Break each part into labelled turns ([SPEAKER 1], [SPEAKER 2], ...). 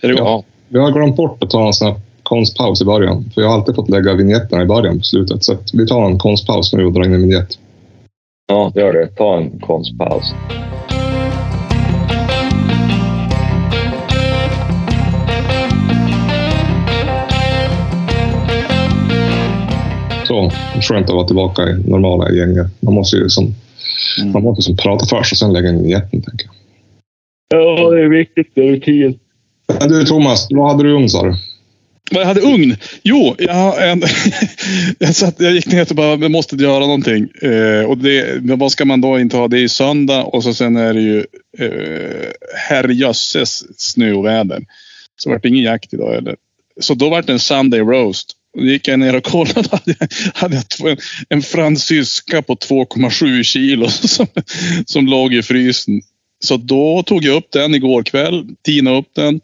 [SPEAKER 1] Det är, ja.
[SPEAKER 2] Vi har glömt bort att ta en sån här konstpaus i början. För jag har alltid fått lägga vinjetterna i början på slutet. Så att vi tar en konstpaus nu och drar in en vinjett.
[SPEAKER 1] ja, gör det. Ta en konstpaus.
[SPEAKER 2] Så, skönt att vara tillbaka i normala gänget. Man måste ju som,
[SPEAKER 3] Mm.
[SPEAKER 2] man måste som prata först och sen lägga in vinjetten, tänker jag.
[SPEAKER 1] Ja, det är viktigt. Det är rutin.
[SPEAKER 2] Men du Thomas, vad hade du ung sa du?
[SPEAKER 3] Vad jag hade ugn? Jo, jag, har en, jag, satt, jag gick ner och bara, jag måste göra någonting. Eh, och det, men vad ska man då inte ha? Det är ju söndag och så sen är det ju eh, herrejösses snöoväder. Så vart det ingen jakt idag eller? Så då vart det en Sunday roast. Och Då gick jag ner och kollade. Hade jag, hade jag två- en, en fransyska på 2,7 kilo som, som låg i frysen. Så då tog jag upp den igår kväll, tinade upp den,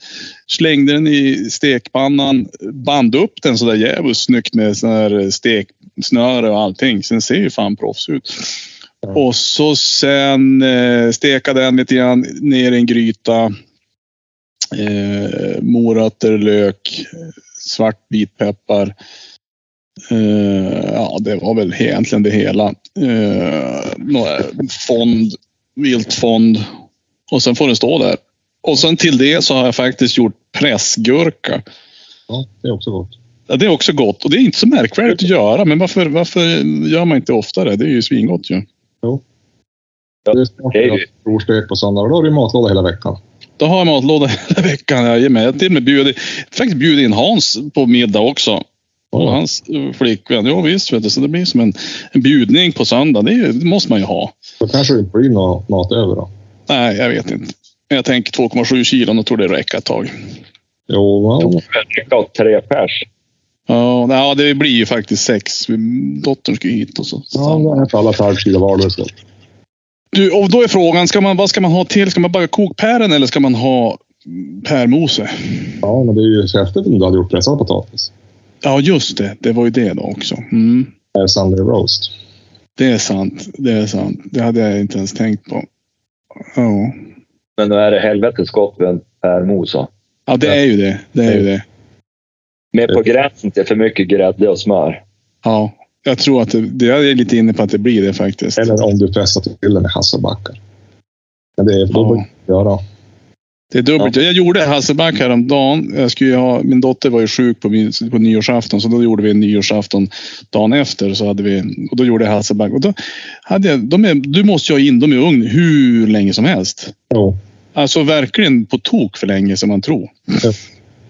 [SPEAKER 3] slängde den i stekpannan, band upp den sådär jävligt snyggt med sån här steksnöre och allting. Så den ser ju fan proffs ut. Och så sen eh, stekade den lite grann ner i en gryta. Eh, morötter, lök, svart vitpeppar. Eh, ja, det var väl egentligen det hela. Eh, några fond, viltfond. Och sen får den stå där. Och sen till det så har jag faktiskt gjort pressgurka.
[SPEAKER 2] Ja, det är också gott.
[SPEAKER 3] Ja, det är också gott och det är inte så märkvärdigt att göra. Men varför, varför gör man inte oftare? Det är ju svingott ju.
[SPEAKER 2] Det är snart
[SPEAKER 1] Hej.
[SPEAKER 2] jag tror stek på söndag och då har du matlåda hela veckan.
[SPEAKER 3] Då har jag matlåda hela veckan. Jajamän. Jag har till och med bjudit, faktiskt bjudit in Hans på middag också. Och
[SPEAKER 2] Ja,
[SPEAKER 3] hans eh, flickvän. Ja visst, vet du, så det blir som en, en bjudning på söndag. Det, är ju- det måste man ju ha.
[SPEAKER 2] då kanske det inte blir någon mat över då.
[SPEAKER 3] Nej, jag vet inte. Men jag tänker 2,7 kilo, då tror det räcker ett tag.
[SPEAKER 2] Jo, ja.
[SPEAKER 1] Checkout tre pers.
[SPEAKER 3] Ja, nej, ja, det blir ju faktiskt sex. Dottern ska ju hit och så.
[SPEAKER 2] Ja, då äter alla ett halvt kilo var. då är det slut.
[SPEAKER 3] Du, och då är frågan, ska man, vad ska man ha till? Ska man bara kokpären eller ska man ha pärmose?
[SPEAKER 2] Ja, men det är ju så häftigt om du hade gjort pressad potatis.
[SPEAKER 3] Ja, just det. Det var ju det då också. Mm.
[SPEAKER 2] Det är Eh, Sunday roast.
[SPEAKER 3] Det är sant. Det är sant. Det hade jag inte ens tänkt på. Ja,
[SPEAKER 1] Men nu är det helvetes gott med en pärmos. va?
[SPEAKER 3] ja det är ju det. Det är ju det.
[SPEAKER 1] Med på gränsen till för mycket grädde och smör.
[SPEAKER 3] Ja, jag tror att det, det jag är lite inne på att det blir det faktiskt.
[SPEAKER 2] Eller om du pressar till den i hasselbackar. Men det är
[SPEAKER 3] Ja.
[SPEAKER 2] dubbelt att göra.
[SPEAKER 3] Det är dubbelt. Jag gjorde Hasselback häromdagen. Jag skulle ju ha, min dotter var ju sjuk på, min, på nyårsafton, så då gjorde vi en nyårsafton dagen efter. Så hade vi, och då gjorde jag Hasselback. Och då hade jag, de är, du måste ju ha in dem i ugn hur länge som helst.
[SPEAKER 2] Jo,
[SPEAKER 3] Alltså verkligen på tok för länge som man tror.
[SPEAKER 2] då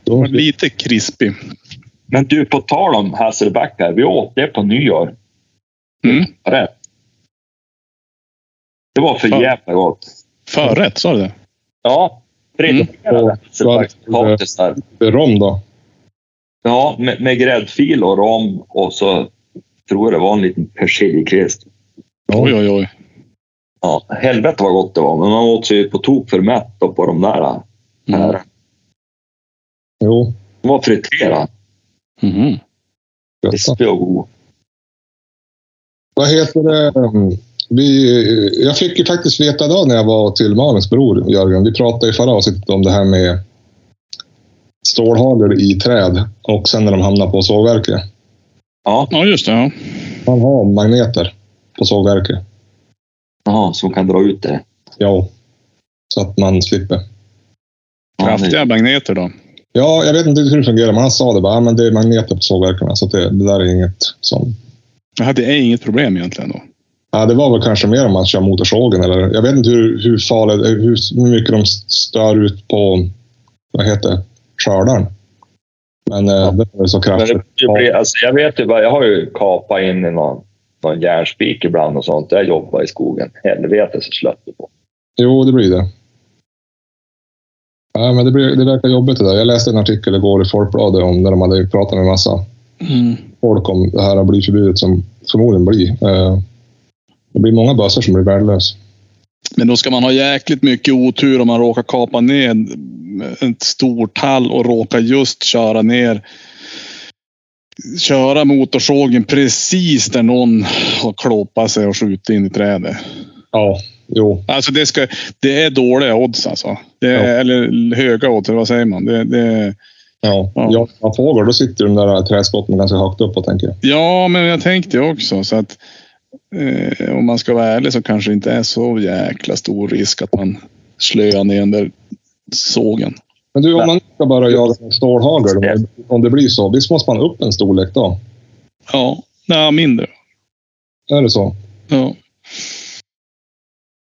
[SPEAKER 3] De var lite krispig.
[SPEAKER 1] Men du, på tal om hasselbackar. Vi åt det på nyår.
[SPEAKER 3] Mm.
[SPEAKER 1] Rätt. Det var för
[SPEAKER 3] Fan.
[SPEAKER 1] jävla gott.
[SPEAKER 3] Förrätt, sa du det?
[SPEAKER 1] Ja, friterade
[SPEAKER 2] Mm.
[SPEAKER 1] hasselbackspotatisar.
[SPEAKER 2] blir det rom då.
[SPEAKER 1] Ja, med, med gräddfil och rom och så tror jag det var en liten persiljekvist.
[SPEAKER 2] Ja.
[SPEAKER 3] Oj, oj, oj.
[SPEAKER 1] Ja, helvete vad gott det var. Men man åt sig ju på tok för mätt då på de där.
[SPEAKER 3] Mm.
[SPEAKER 1] Här.
[SPEAKER 2] Jo,
[SPEAKER 1] De var friterade.
[SPEAKER 3] Mhm.
[SPEAKER 2] detta.
[SPEAKER 1] Krispig och god.
[SPEAKER 2] Vad heter det? Mm, Vi, jag fick ju faktiskt veta idag när jag var till Malins bror Jörgen. Vi pratade i förra avsnittet om det här med stålhagel i träd och sen när de hamnar på sågverket.
[SPEAKER 1] Ja,
[SPEAKER 3] Ja, just det. Ja.
[SPEAKER 2] Man har magneter på sågverket.
[SPEAKER 1] aha, som kan dra ut det.
[SPEAKER 2] Ja. Så att man slipper.
[SPEAKER 1] Ja,
[SPEAKER 3] Kraftiga magneter då.
[SPEAKER 2] Ja, jag vet inte hur det fungerar, men han sa det bara. "Ja, Men det är magneter på sågverken, så att det, det där är inget som...
[SPEAKER 3] Jag hade inget problem egentligen då.
[SPEAKER 2] Ja, det var väl kanske mer om man kör motorsågen eller... Jag vet inte hur, hur farligt, hur, hur mycket de stör ut på, vad heter det, skördaren. Men eh, det var så
[SPEAKER 1] Men
[SPEAKER 2] kraftigt.
[SPEAKER 1] det, det blir, alltså, jag vet ju bara, jag har ju kapat in i någon, någon järnspik ibland och sånt. Jag jobbar i skogen. Helvete så slött det på.
[SPEAKER 2] Jo, det blir det. Ja, men det, blir, det verkar jobbigt det där. Jag läste en artikel igår i Folkbladet om när de hade pratat med massa folk om det här blyförbudet som förmodligen blir. Eh, Det blir många bössor som blir värdelösa.
[SPEAKER 3] Men då ska man ha jäkligt mycket otur om man råkar kapa ner ett stor tall och råkar just köra ner köra motorsågen precis där någon har klåpat sig och skjutit in i trädet.
[SPEAKER 2] Ja, Jo,
[SPEAKER 3] Alltså det, ska, det är dåliga odds alltså. Det är,
[SPEAKER 2] Ja.
[SPEAKER 3] Eller höga odds, eller vad säger man? Det, det,
[SPEAKER 2] ja.
[SPEAKER 3] Ja.
[SPEAKER 2] ja. man fågel, då sitter de där träskotten ganska högt upp och tänker jag.
[SPEAKER 3] ja, men jag tänkte ju också så att eh, om man ska vara ärlig så kanske det inte är så jäkla stor risk att man slöar ner den där sågen.
[SPEAKER 2] Men du, om man ska bara jaga en stålhagel, om- om det blir så, visst måste man upp en storlek då?
[SPEAKER 3] Ja, nej, mindre.
[SPEAKER 2] Är det så?
[SPEAKER 3] Ja,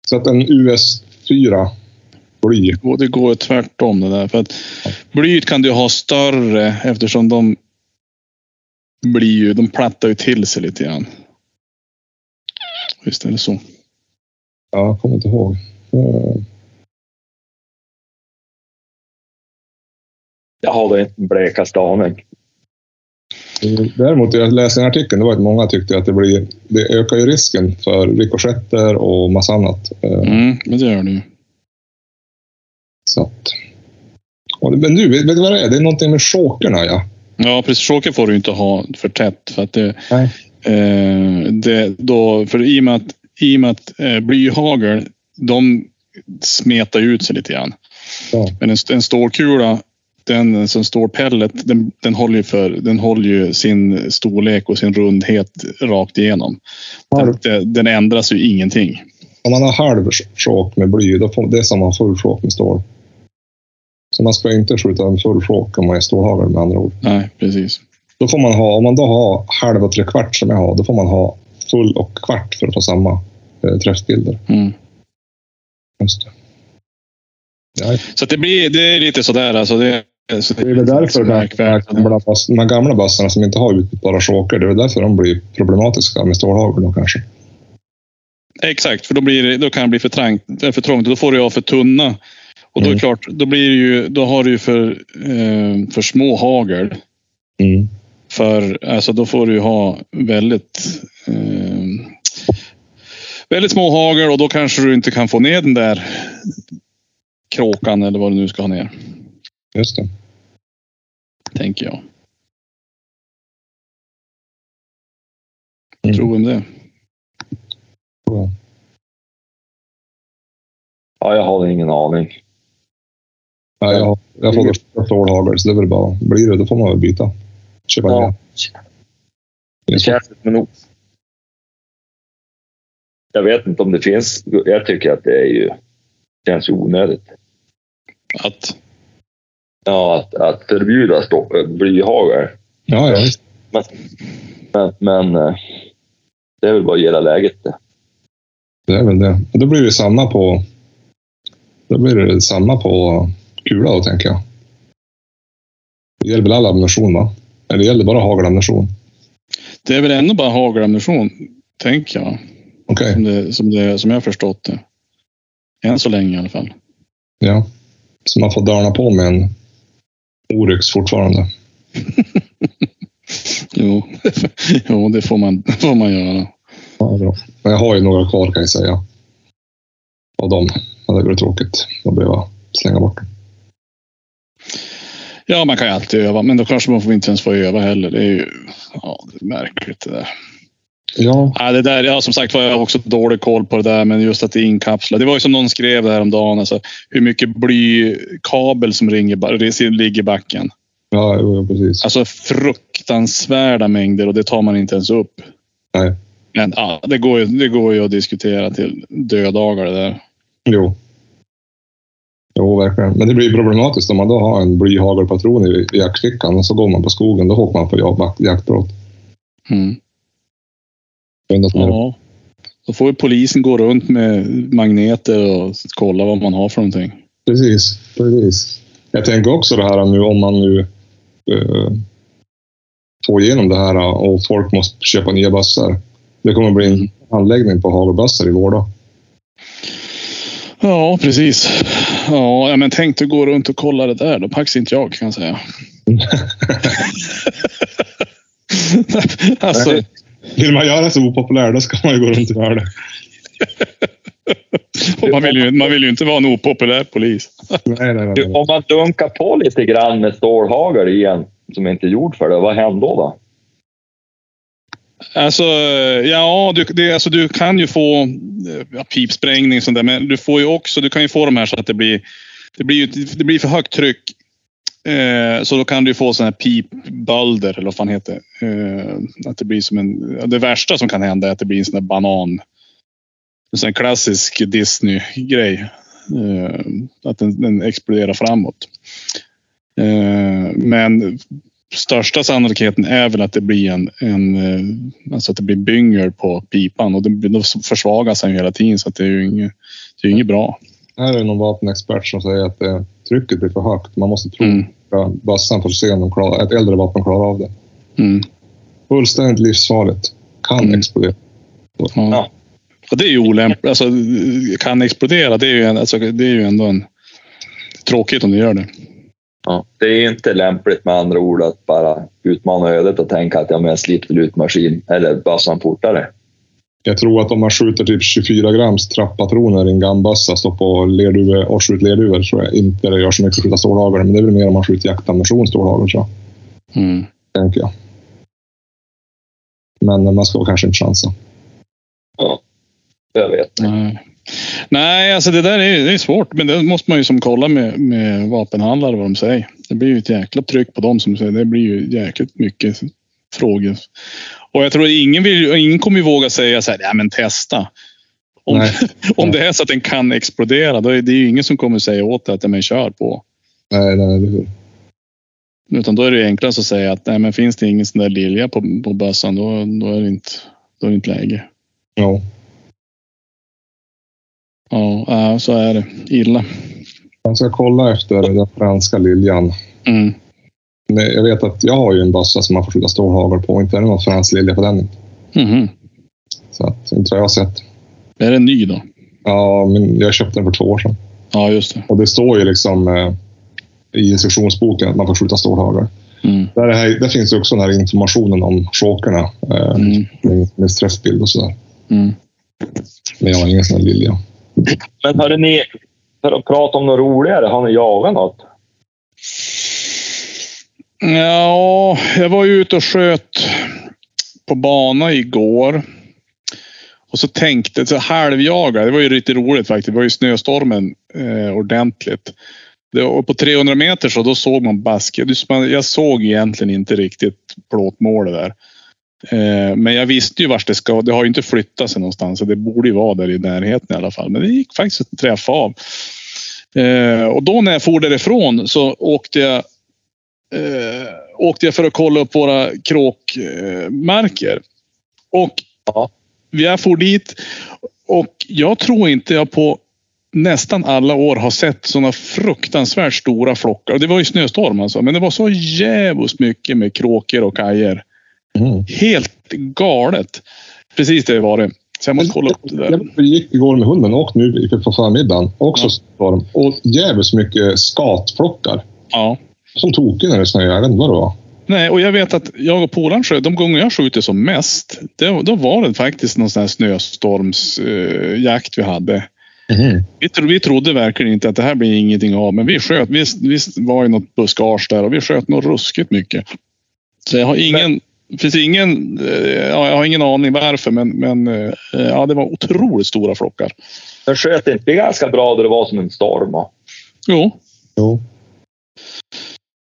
[SPEAKER 2] Så att en US4 blir...
[SPEAKER 3] och det går ju tvärtom det där. För att blyet kan du ha större eftersom de blir ju, de plattar ju till sig lite grann. Visst är det så.
[SPEAKER 2] Ja, jag kommer inte ihåg. Eh,
[SPEAKER 1] Jag har det inte blekaste aning.
[SPEAKER 2] Däremot, jag läste en artikel, det var att många tyckte att det, blir, det ökar ju risken för rikoschetter och massa annat. Eh,
[SPEAKER 3] Mm, men det gör det ju.
[SPEAKER 2] Så att, och, men du, vet, vet du vad det är? Det är någonting med chokerna, ja.
[SPEAKER 3] Ja, precis. Choker får du ju inte ha för tätt. För att det,
[SPEAKER 2] Nej.
[SPEAKER 3] eh, det, då, för i och med att, i och med att eh, blyhagel, de smetar ju ut sig lite grann.
[SPEAKER 2] Ja.
[SPEAKER 3] Men en, en stålkula, den som står pellet, den, den, håller ju för, den håller ju sin storlek och sin rundhet rakt igenom. Den, den, den ändras ju ingenting.
[SPEAKER 2] Om man har halv chok med bly, då får, det är som att ha full chok med stål. Så man ska inte skjuta en full chok om man är stålhagel med andra ord.
[SPEAKER 3] Nej, precis.
[SPEAKER 2] Då får man ha, om man då har halv och tre kvart som jag har, då får man ha full och kvart för att få samma eh, träffbilder.
[SPEAKER 3] Mm.
[SPEAKER 2] Just det. Ja,
[SPEAKER 3] Så att det, blir, det är lite sådär. Alltså det, så
[SPEAKER 2] Det är väl därför de här
[SPEAKER 3] märkvärdigt.
[SPEAKER 2] gamla, bass- de här gamla bassarna som inte har utbytbara choker, det är väl därför de blir problematiska med stålhagel då kanske.
[SPEAKER 3] Exakt, för då, blir det, då kan det bli för, trangt, eh, för trångt och då får du ha för tunna. Och då är det
[SPEAKER 2] Mm.
[SPEAKER 3] klart, då, blir det ju, då har du ju för, eh, för små hagel.
[SPEAKER 2] Mm.
[SPEAKER 3] För alltså, då får du ju ha väldigt, eh, väldigt små hagel och då kanske du inte kan få ner den där kråkan eller vad du nu ska ha ner.
[SPEAKER 2] Just det.
[SPEAKER 3] Tänker jag.
[SPEAKER 2] Mm.
[SPEAKER 3] Tror om det.
[SPEAKER 1] Ja, jag har ingen aning.
[SPEAKER 2] Nej, jag, har- jag får första stålhagel, så det är väl bara, blir det då får man väl byta. Köpa
[SPEAKER 1] Ja.
[SPEAKER 2] ja.
[SPEAKER 1] Det känns men nog. Jag vet inte om det finns. Jag tycker att det är ju, känns ju onödigt.
[SPEAKER 3] Att,
[SPEAKER 1] Ja, att, att förbjuda stå- blyhagel.
[SPEAKER 2] ja, ja, visst.
[SPEAKER 1] Men, men eh, det är väl bara att gilla läget det.
[SPEAKER 2] det är väl det. Och då blir det samma på då blir det samma på kula då, tänker jag. Det gäller väl all ammunition, va? Eller det gäller bara hagelammunition?
[SPEAKER 3] det är väl ändå bara hagelammunition, tänker jag.
[SPEAKER 2] Okej,
[SPEAKER 3] Som, det, som, det, som jag har förstått det. Än så länge i alla fall.
[SPEAKER 2] ja. Så man får darna på med en Oryx fortfarande.
[SPEAKER 3] Jo, jo det får man, får man göra.
[SPEAKER 2] Ja, bra. Men jag har ju några kvar kan jag säga. Av dem. Ja, det vore tråkigt att behöva slänga bort. dem.
[SPEAKER 3] Ja, man kan ju alltid öva, men då kanske man får inte ens få öva heller. Det är ju ja, det är märkligt det där.
[SPEAKER 2] Ja,
[SPEAKER 3] Ja, det där. Ja, som sagt var, jag har också dålig koll på det där, men just att det är inkapslat. Det var ju som någon skrev där om dagen, alltså, hur mycket blykabel som ringer, ba- ligger i backen.
[SPEAKER 2] ja jo, jo, precis.
[SPEAKER 3] Alltså fruktansvärda mängder och det tar man inte ens upp.
[SPEAKER 2] Nej.
[SPEAKER 3] Men ja, det går ju, det går ju att diskutera till dödagar det där.
[SPEAKER 2] Jo. Jo, verkligen. Men det blir problematiskt om man då har en blyhagelpatron i i jaktfickan och så går man på skogen. Då åker man på jag- jaktbrott.
[SPEAKER 3] Mm.
[SPEAKER 2] Undra att man-
[SPEAKER 3] Ja. Då får ju polisen gå runt med magneter och kolla vad man har för någonting.
[SPEAKER 2] Precis, precis. Jag tänker också det här nu om man nu eh, får igenom det här eh, och folk måste köpa nya bössor. Det kommer bli
[SPEAKER 3] Mm.
[SPEAKER 2] en anläggning på hagelbössor i vår då.
[SPEAKER 3] Ja, precis. Ja, ja, men tänk du gå runt och kolla det där. Då packs inte jag kan jag säga. alltså,
[SPEAKER 2] Vill man göra sig opopulär, då ska man ju gå runt och göra det.
[SPEAKER 3] man, vill ju, man vill ju inte vara en opopulär polis.
[SPEAKER 2] Nej, nej, nej.
[SPEAKER 1] Du, om man dunkar på lite grann med stålhagel igen som inte är gjord för det, vad händer då? då?
[SPEAKER 3] Alltså, ja, du, det, alltså, du kan ju få eh, ja, pipsprängning och sånt där, men du får ju också, du kan ju få de här så att det blir, det blir, ju- det blir för högt tryck. Eh, så då kan du ju få sådana här pipbölder eller vad fan heter. det. Eh, att det blir som en, ja, det värsta som kan hända är att det blir en sån där banan. En sån här klassisk Disney-grej. Eh, att den, den exploderar framåt. Eh, men största sannolikheten är väl att det blir en, en eh, alltså att det blir bynger på pipan och det, då försvagas den hela tiden så att det är ju inget, det är ju inget bra.
[SPEAKER 2] Här är någon vapenexpert som säger att eh, trycket blir för högt. Man måste prova
[SPEAKER 3] Mm.
[SPEAKER 2] bössan för att se om de klarar, ett äldre vapen klarar av det.
[SPEAKER 3] Mm.
[SPEAKER 2] Fullständigt livsfarligt. Kan
[SPEAKER 3] Mm.
[SPEAKER 2] explodera.
[SPEAKER 3] Ja.
[SPEAKER 1] Ja.
[SPEAKER 3] Och det är ju olämpligt. Alltså, kan explodera, det är, ju en, alltså, det är ju ändå en... Tråkigt om det gör det.
[SPEAKER 1] Ja. Det är inte lämpligt med andra ord att bara utmana ödet och tänka att ja, men jag sliter ut maskin eller bössan fortare.
[SPEAKER 2] Jag tror att om man skjuter typ 24 grams trapppatroner i en gammbössa, står på lerduve, och skjuter lerduvor, så är inte det gör så mycket att skjuta stålhagel. Men det är väl mer om man skjuter jaktammunition stålhagel, tror
[SPEAKER 3] Mm.
[SPEAKER 2] jag, tänker jag. Men eh, man ska väl kanske inte chansa.
[SPEAKER 1] Jag vet.
[SPEAKER 3] Nej. Nej, alltså det där är, det är svårt. Men det måste man ju som kolla med, med vapenhandlare vad de säger. Det blir ju ett jäkla tryck på dem som säger. Det blir ju jäkligt mycket frågor. Och jag tror ingen, vill, ju- ingen kommer ju våga säga så här, ja men testa. Om,
[SPEAKER 2] Nej.
[SPEAKER 3] om det är så att den kan explodera, då är det ju ingen som kommer säga åt dig att ja, men kör på.
[SPEAKER 2] Nej, nej, eller hur?
[SPEAKER 3] Utan då är det ju enklast att säga att nej, men finns det ingen sån där lilja på, på bössan, då, då, är det inte, då är det inte läge.
[SPEAKER 2] Ja.
[SPEAKER 3] Ja, ja, så är det. Illa.
[SPEAKER 2] Man ska kolla efter den franska liljan.
[SPEAKER 3] Mm.
[SPEAKER 2] Nej, Jag vet att jag har ju en bössa som man får skjuta stålhagel på. Inte är det någon fransk lilja på den.
[SPEAKER 3] Mhm.
[SPEAKER 2] Så att, inte vad jag har sett.
[SPEAKER 3] Är den ny då?
[SPEAKER 2] Ja, men jag köpte den för två år sedan.
[SPEAKER 3] Ja, just det.
[SPEAKER 2] Och det står ju liksom eh, i instruktionsboken att man får skjuta stålhagel.
[SPEAKER 3] Mm.
[SPEAKER 2] Där, är här, där finns ju också den här informationen om chokerna. Eh,
[SPEAKER 3] Mm.
[SPEAKER 2] med, med träffbild och sådär.
[SPEAKER 3] Mm.
[SPEAKER 2] Men jag har ingen sån här lilja.
[SPEAKER 1] Men hörde ni, för att prata om något roligare, har ni jagat något?
[SPEAKER 3] Ja, jag var ju ute och sköt på bana igår. Och så tänkte jag, halvjaga. Det var ju riktigt roligt faktiskt. Det var ju snöstormen eh, ordentligt. Det, och på 300 meter så då såg man baske. du- man- Jag såg egentligen inte riktigt plåtmålet där. Eh, men jag visste ju vart det ska. Det har ju inte flyttat sig någonstans. Så det borde ju vara där i närheten i alla fall. Men det gick faktiskt att träffa av. Eh, och då när jag for därifrån så åkte jag eh, åkte jag för att kolla upp våra kråkmarker. Eh, marker. och
[SPEAKER 1] Ja.
[SPEAKER 3] jag for dit och jag tror inte jag på nästan alla år har sett sådana fruktansvärt stora flockar. Och det var ju snöstorm alltså, men det var så jävligt mycket med kråkor och kajer.
[SPEAKER 2] Mm.
[SPEAKER 3] Helt galet. Precis det var det. Så jag måste kolla upp det där.
[SPEAKER 2] Jag gick igår med hunden och nu på förmiddagen. Också
[SPEAKER 3] Ja.
[SPEAKER 2] storm. Och jävligt mycket skatplockar.
[SPEAKER 3] Ja.
[SPEAKER 2] Som tokig när det snöar. Jag vet inte vad det var.
[SPEAKER 3] Nej, och jag vet att jag och polaren sköt, de gånger jag skjuter som mest, det, då var det faktiskt någon sån här snöstormsjakt eh, jakt vi hade.
[SPEAKER 2] Mhm.
[SPEAKER 3] Vi, tro, vi trodde verkligen inte att det här blir ingenting av, men vi sköt. Vi, vi var i något buskage där och vi sköt något ruskigt mycket. Så jag har ingen, finns ingen, eh, ja, jag har ingen aning varför, men, men eh, ja, det var otroligt stora flockar.
[SPEAKER 1] Men sköt inte vi ganska bra då det var som en storm? va?
[SPEAKER 3] Jo,
[SPEAKER 2] Jo.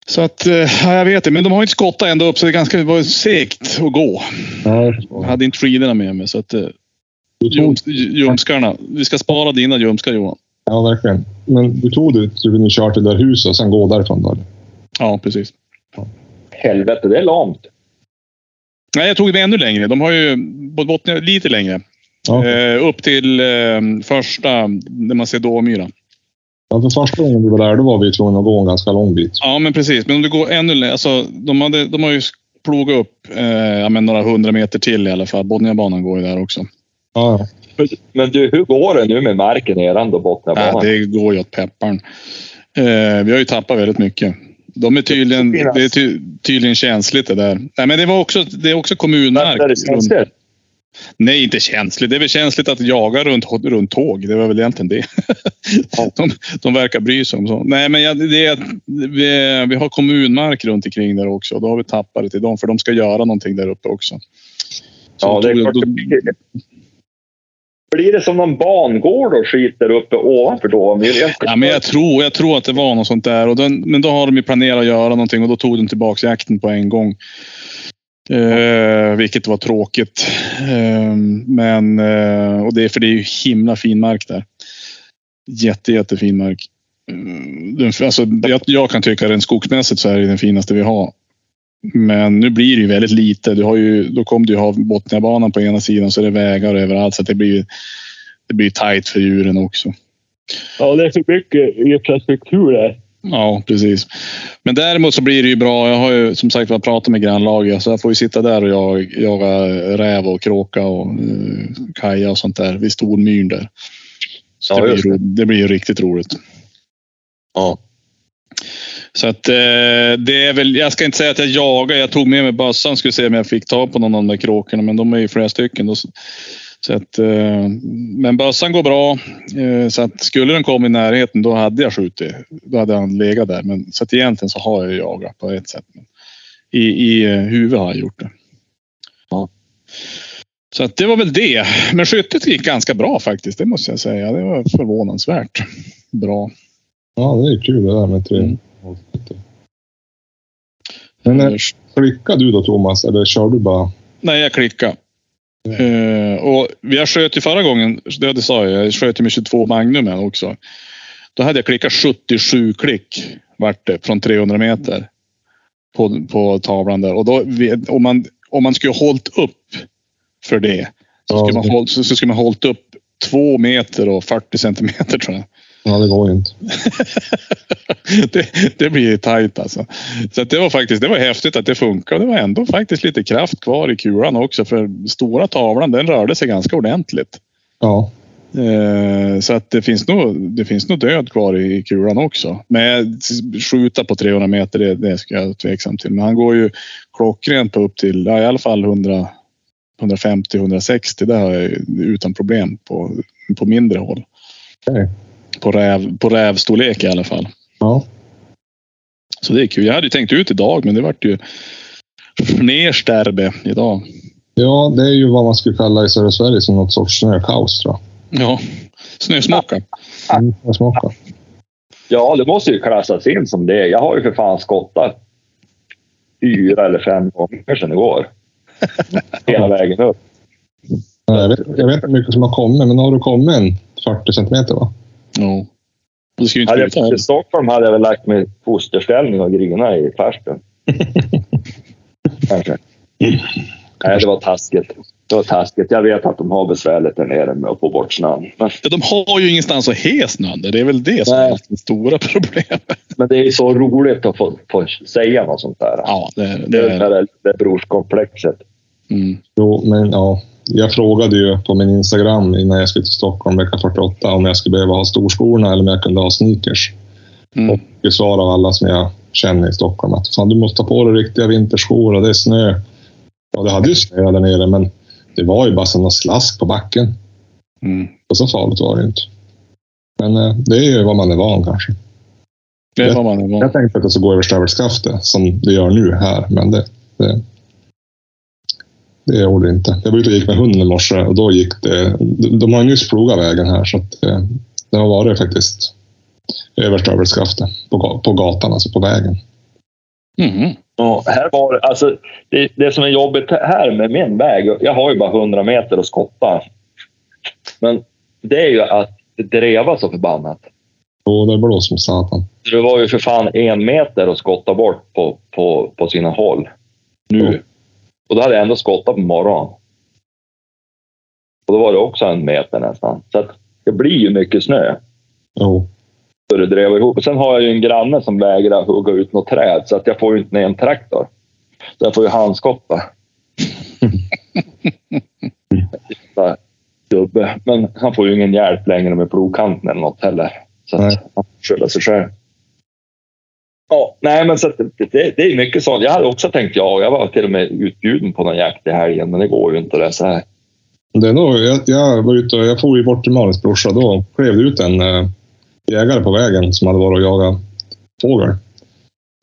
[SPEAKER 3] så att eh, ja, jag vet det, men de har ju inte skottat ända upp så det är ganska det var segt att gå.
[SPEAKER 2] Nej.
[SPEAKER 3] Jag hade inte skidorna med mig så att eh,
[SPEAKER 2] Du tog
[SPEAKER 3] ljums- ljumskarna. Vi ska spara dina ljumskar Johan.
[SPEAKER 2] Ja, verkligen. Men du tog det så du kunde köra till det där huset och sen gå därifrån? Där.
[SPEAKER 3] Ja, precis.
[SPEAKER 1] Helvete, det är lamt.
[SPEAKER 3] Nej, jag tog det ännu längre. De har ju på Botnia lite längre.
[SPEAKER 2] Ja.
[SPEAKER 3] Eh, upp till eh, första, när man ser Dåmyra.
[SPEAKER 2] Ja, för första gången vi var där, då var vi tvungna att gå en ganska lång bit.
[SPEAKER 3] Ja, men precis. Men om du går ännu längre. Alltså, de, hade, de har ju plogat upp eh, ja, men några hundra meter till i alla fall. Botniabanan går ju där också.
[SPEAKER 2] Ja, ja.
[SPEAKER 1] Men du, hur går det nu med marken eran då, Botniabanan?
[SPEAKER 3] Ja, det går ju åt pepparn. Eh, vi har ju tappat väldigt mycket. De är tydligen, det är ty, tydligen känsligt det där. Nej, men det, var också, det är också kommunmark.
[SPEAKER 1] Där är det känsligt.
[SPEAKER 3] Nej, inte känsligt. Det är väl känsligt att jaga runt, runt tåg. Det var väl egentligen det. De, de verkar bry sig om sånt. Nej, men jag, det är, att vi, vi har kommunmark runt omkring där också. Då har vi tappat det till dem, för de ska göra någonting där uppe också. Så
[SPEAKER 1] Ja, det är
[SPEAKER 3] tog jag-
[SPEAKER 1] klart det blir. Blir det som någon bangård och skit där uppe ovanför då? Om vi-
[SPEAKER 3] Ja, men jag, tror, jag tror att det var något sånt där. Och den, men då har de ju planerat att göra någonting och då tog de tillbaka jakten på en gång. Eh, vilket var tråkigt. Eh, men, eh, och det är för det är ju himla fin mark där. Jätte, jättefin mark. Eh, den, alltså, jag, jag kan tycka rent skogsmässigt så är det den finaste vi har. Men nu blir det ju väldigt lite. Du har ju, då kommer du ju ha Botniabanan på ena sidan så är det vägar överallt. Så att det blir det blir tajt för djuren också.
[SPEAKER 4] Ja, det är för mycket infrastruktur där.
[SPEAKER 3] Ja, precis. Men däremot så blir det ju bra. Jag har ju som sagt var pratat med grannlaget så jag får ju sitta där och jag, jaga räv och kråka och eh, kaja och sånt där vid Stormyren där. Så
[SPEAKER 1] Ja,
[SPEAKER 3] det,
[SPEAKER 1] just
[SPEAKER 3] blir, ro- det blir ju riktigt roligt.
[SPEAKER 1] Ja.
[SPEAKER 3] Så att eh, det är väl, jag ska inte säga att jag jagar. Jag tog med mig bössan skulle se om jag fick ta på någon av de där kråkorna, men de är ju flera stycken. Då, så, så att, eh, men bössan går bra. Eh, så att skulle den komma i närheten, då hade jag skjutit. Då hade han legat där. Men, så att egentligen så har jag ju jagat på ett sätt. Men I, i eh, huvudet har jag gjort det.
[SPEAKER 1] Ja.
[SPEAKER 3] Så att det var väl det. Men skyttet gick ganska bra faktiskt. Det måste jag säga. Det var förvånansvärt bra.
[SPEAKER 2] Ja, det är kul det där med tre.
[SPEAKER 3] Mm.
[SPEAKER 2] Men eh, klickade du då Thomas, eller kör du bara?
[SPEAKER 3] Nej, jag klickade.
[SPEAKER 2] Mm.
[SPEAKER 3] Eh, och jag sköt ju förra gången, det hade sa jag, jag sköt ju med 22 Magnum här också. Då hade jag klickat 77 klick vart det, från 300 meter. På, på tavlan där. Och då, vet- om, man, om man skulle ha hållit upp för det. Så
[SPEAKER 2] Ja,
[SPEAKER 3] skulle man,
[SPEAKER 2] det-
[SPEAKER 3] håll, så, så skulle man ha hållit upp 2 meter och 40 centimeter tror jag.
[SPEAKER 2] Ja, det går ju inte.
[SPEAKER 3] det, det blir tajt alltså. Så att det var faktiskt det var häftigt att det funkar. Det var ändå faktiskt lite kraft kvar i kulan också. För stora tavlan den rörde sig ganska ordentligt.
[SPEAKER 2] Ja,
[SPEAKER 3] Eh, så att det finns nog, det finns nog död kvar i, i kulan också. Men jag- skjuta på 300 meter, det, det ska jag tveksam till. Men han går ju klockrent på upp till ja, i alla fall 100, 150, 160. Det har jag ju utan problem på, på mindre håll.
[SPEAKER 2] Okej.
[SPEAKER 3] På, räv, på rävstorlek i alla fall.
[SPEAKER 2] ja.
[SPEAKER 3] Så det är kul. Jag hade ju tänkt ut idag, men det vart ju Fnersterbe idag.
[SPEAKER 2] Ja, det är ju vad man skulle kalla i södra Sverige som något sorts snökaos tror
[SPEAKER 3] Ja, snösmocka.
[SPEAKER 2] jag. Mm, jag smakar.
[SPEAKER 1] ja, det måste ju klassas in som det. Jag har ju för fan skottat fyra eller fem gånger sedan igår. Hela vägen upp.
[SPEAKER 2] Nej, Jag vet, jag vet inte hur mycket som har kommit, men har du kommit en 40 centimeter va?
[SPEAKER 3] Ja. Det ska ju inte
[SPEAKER 1] Hade jag
[SPEAKER 3] sluta
[SPEAKER 1] fått
[SPEAKER 3] här.
[SPEAKER 1] till Stockholm hade jag väl lagt mig i fosterställning och grina i farstun. Kanske. Nej, det var taskigt. Det var taskigt. Jag vet att de har besvärligt där nere med att få bort snön. Men,
[SPEAKER 3] Ja, de har ju ingenstans att he snön. där. Det är väl det som
[SPEAKER 1] Nej.
[SPEAKER 3] är det stora problemet.
[SPEAKER 1] men det är ju så roligt att få, få säga något sånt där.
[SPEAKER 3] Ja, det, är-
[SPEAKER 1] Det
[SPEAKER 3] det
[SPEAKER 1] är
[SPEAKER 3] är...
[SPEAKER 1] det där det brorskomplexet.
[SPEAKER 3] Mm.
[SPEAKER 2] Jo, men ja. Jag frågade ju på min Instagram innan jag skulle till Stockholm vecka 48 om jag skulle behöva ha storskorna eller om jag kunde ha sneakers.
[SPEAKER 3] Mm.
[SPEAKER 2] Det svarade alla som jag känner i Stockholm att fan, du måste ta på dig riktiga vinterskor och det är snö. Ja, det hade ju snö där nere, men det var ju bara sådana slask på backen.
[SPEAKER 3] Mm.
[SPEAKER 2] Och så farligt var det ju inte. Men eh, det är ju vad man är van kanske.
[SPEAKER 3] Det var man
[SPEAKER 2] Jag tänkte att det skulle gå över Stävelskaftet som det gör nu här, men det, det, det gjorde det inte. Jag var ute och gick med hunden i morse och då gick det. De, de har ju nyss plogat vägen här så att eh, det har varit faktiskt över Stävelskaftet på, ga- på gatan, alltså på vägen.
[SPEAKER 3] mm.
[SPEAKER 1] Ja, här var, det- alltså, det, det som är jobbigt här med min väg, jag har ju bara 100 meter att skotta. Men det är ju att det drevar så förbannat.
[SPEAKER 2] Och det blåser som satan.
[SPEAKER 1] Så Det var ju för fan en meter att skotta bort på, på, på sina håll.
[SPEAKER 2] Ja.
[SPEAKER 1] Nu. Och då hade jag ändå skottat på morgonen. Och då var det också en meter nästan. Så att det blir ju mycket snö.
[SPEAKER 2] Jo.
[SPEAKER 1] Så det drev ihop. Och sen har jag ju en granne som vägrar hugga ut något träd så att jag får ju inte ner en traktor. Så jag får ju handskotta. Jävla Gubbe. Men han får ju ingen hjälp längre med plogkanten eller något heller. Så att
[SPEAKER 2] Nej.
[SPEAKER 1] han får skylla sig själv. Ja, nej men så att det, det, det är mycket sånt. Jag hade också tänkt jag. Jag var till och med utbjuden på någon jakt i helgen men det går ju inte det så här.
[SPEAKER 2] Det är nog, jag, jag var ute och jag for ju bort till Malins brorsa. Då klev det ut en eh, jägare på vägen som hade varit och jagat fågel.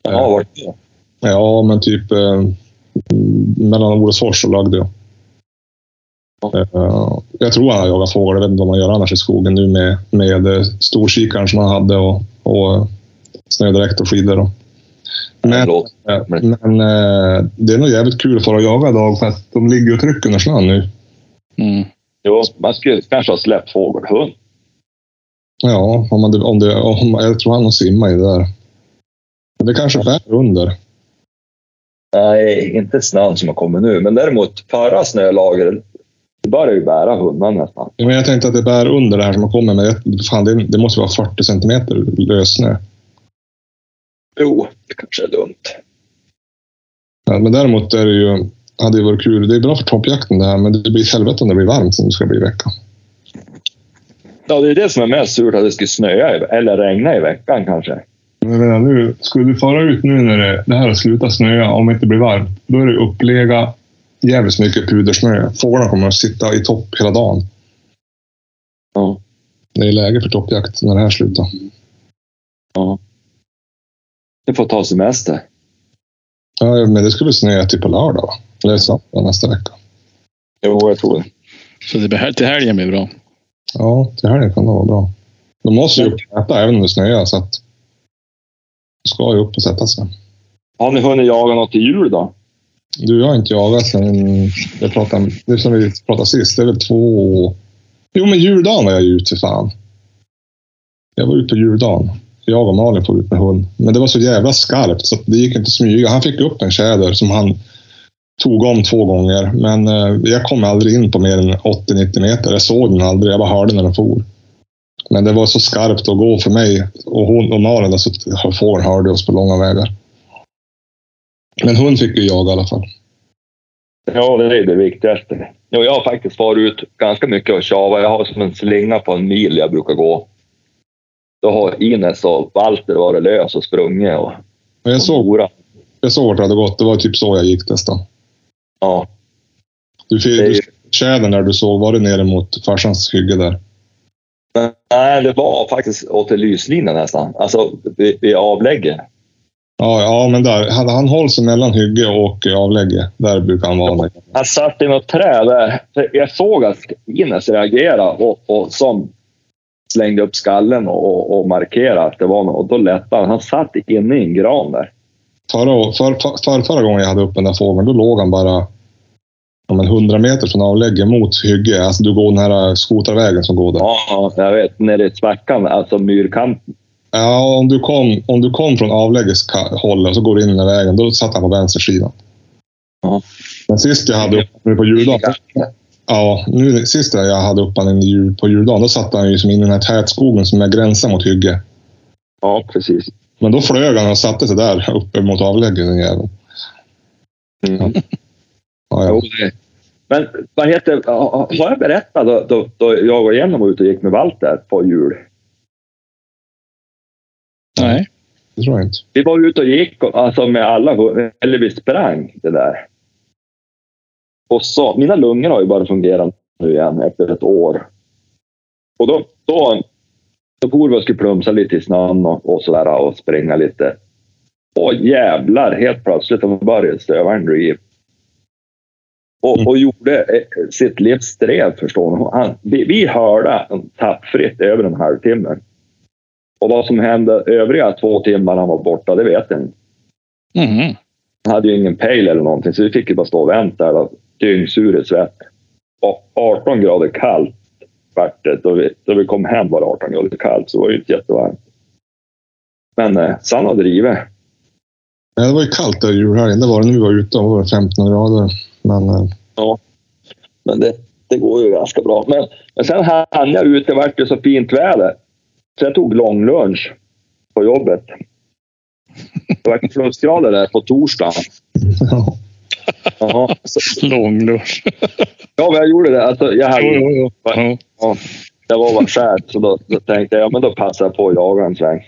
[SPEAKER 1] Ja, vart det?
[SPEAKER 2] Ja, men typ eh, mellan Olofsfors och Lagdö. Eh, Jag tror han har jagat fågel. Jag vet inte vad man gör annars i skogen nu med, med eh, storkikaren som han hade och, och snödräkt och skidor. och- Men,
[SPEAKER 1] Förlåt.
[SPEAKER 2] eh, men eh, det är nog jävligt kul för att jaga idag för att de ligger och trycker under snön nu.
[SPEAKER 3] Mm.
[SPEAKER 1] Jo, man skulle kanske ha släppt fågelhund.
[SPEAKER 2] Ja, om man, om det, om, jag tror han har simmat i det där. Men Det kanske bär under.
[SPEAKER 1] Nej, inte snön som har kommit nu, men däremot förra snölagret, det började ju bära hundarna nästan.
[SPEAKER 2] Men jag tänkte att det bär under det här som har kommit, men det, fan, det, det måste vara 40 centimeter lössnö.
[SPEAKER 1] Jo, det kanske är dumt.
[SPEAKER 2] Ja, men däremot är det ju, hade det varit kul. Det är bra för toppjakten det här, men det blir ett helvete om det blir varmt som det ska bli i veckan.
[SPEAKER 1] Ja, det är det som är mest surt, att det skulle snöa i- eller regna i veckan kanske.
[SPEAKER 2] Men jag menar nu, skulle du fara ut nu när det, det här slutar snöa, om det inte blir varmt, då är det upplega jävligt mycket pudersnö. Fåglarna kommer att sitta i topp hela dagen.
[SPEAKER 1] Ja.
[SPEAKER 2] Det är läge för toppjakt när det här slutar.
[SPEAKER 1] Det får ta semester.
[SPEAKER 2] Ja, men det skulle snöa till på lördag, va? eller söndag nästa vecka.
[SPEAKER 1] Jo, jag tror det.
[SPEAKER 3] Så det blir hel- till helgen blir bra.
[SPEAKER 2] Ja, till helgen kan det vara bra. De måste ju upp och äta även om det snöar, så att de ska ju upp och sätta sig.
[SPEAKER 1] Har ni hunnit jaga något till jul då?
[SPEAKER 2] Du, jag har inte jagat sen jag pratade, det som vi pratade sist. Det är väl två... Jo, men juldagen var jag ju ute för fan. Jag var ute på juldagen. Jag och Malin får ut med hund. Men det var så jävla skarpt så att det gick inte att smyga. Han fick upp en tjäder som han tog om två gånger. Men eh, jag kom aldrig in på mer än 80-90 meter. Jag såg den aldrig. Jag bara hörde när den for. Men det var så skarpt att gå för mig. Och hon och Malin, alltså, fåren hörde oss på långa vägar. Men hund fick ju jag i alla fall.
[SPEAKER 1] Ja, det är det viktigaste. Jo, jag har faktiskt farit ut ganska mycket och tjavat. Jag har som en slinga på en mil jag brukar gå. Då har Ines och Walter varit lös och sprungit och,
[SPEAKER 2] Men jag
[SPEAKER 1] och
[SPEAKER 2] såg,
[SPEAKER 1] morat.
[SPEAKER 2] jag såg vart det hade gått. Det var typ så jag gick nästan.
[SPEAKER 1] Ja,
[SPEAKER 2] Du fick
[SPEAKER 1] det är
[SPEAKER 2] du, tjädern där du såg, var det nere mot farsans hygge där?
[SPEAKER 1] Nej, det var faktiskt åt lyslinan nästan. Alltså vid, vid avlägget.
[SPEAKER 2] Ja, ja men där. Han, han håller sig mellan hygge och avlägge. Där brukar han vara.
[SPEAKER 1] Han satt i något träd där. För Jag såg att Ines reagerade och, och som slängde upp skallen och, och, och markerade att det var något. Och då lättade han. Han satt inne i en gran där.
[SPEAKER 2] Förra, å- för, för, för, förra gången jag hade upp den där fågeln, då låg han bara ja, men 100 meter från avlägge mot hygge. Alltså du går den här skotarvägen som går där.
[SPEAKER 1] Ja, jag vet. Nere i svackan, alltså myrkanten.
[SPEAKER 2] Ja, om du kom, om du kom från avlägges ka- håll och så går du in i den här vägen, då satt han på vänstersidan.
[SPEAKER 1] Ja.
[SPEAKER 2] Men sist jag hade upp nu på juldagen, Ja, nu sist jag hade upp honom i jul, på juldagen, då satt han ju som in i den här tätskogen som är gränsen mot hygge.
[SPEAKER 1] Ja, precis.
[SPEAKER 2] Men då flög han och satte sig där uppe mot avlägget, den jäveln.
[SPEAKER 1] Mm.
[SPEAKER 2] Ja,
[SPEAKER 1] Jo,
[SPEAKER 2] ja.
[SPEAKER 1] det- Men vad heter, har har jag berättat då, då, då jag och Jenny var ute och gick med Walter på jul?
[SPEAKER 3] Nej.
[SPEAKER 2] Det tror jag inte.
[SPEAKER 1] Vi var ute och gick och- alltså med alla, hund- eller vi sprang det där. Och så, mina lungor har ju börjat fungera nu igen efter ett år. Och då, då, då for vi och skulle plumsa lite i snön och, och sådär och springa lite. Och jävlar, helt plötsligt då började stövaren driva. Och, och gjorde eh, sitt livs strev förstår ni. Han, vi, vi hörde han tappfritt över en halvtimme. Och vad som hände övriga två timmar han var borta, det vet jag inte.
[SPEAKER 3] Mhm.
[SPEAKER 1] Han hade ju ingen pejl eller någonting, så vi fick ju bara stå och vänta. där, Dyngsur i svett. Och 18 grader kallt vart det. Då vi, då vi kom hem var det 18 grader kallt, så det var ju inte jättevarmt. Men eh, så han har drivit.
[SPEAKER 2] Nej, det var ju kallt där i julhelgen. Det var det när vi var ute. Då var det 15 grader. Men eh,
[SPEAKER 1] Men det, det går ju ganska bra. Men, men sen hann jag ut, det vart ju så fint väder. Så jag tog långlunch på jobbet. Det vart plusgrader där på torsdagen.
[SPEAKER 2] ja.
[SPEAKER 1] Jaha. Så,
[SPEAKER 3] Långlunch.
[SPEAKER 1] Ja, men jag gjorde det. Alltså, jag,
[SPEAKER 3] Jo,
[SPEAKER 1] hade,
[SPEAKER 3] jo, jo. Ja.
[SPEAKER 1] jag var bara skärd, så då, då tänkte jag ja, men då passar jag på att jaga en sväng.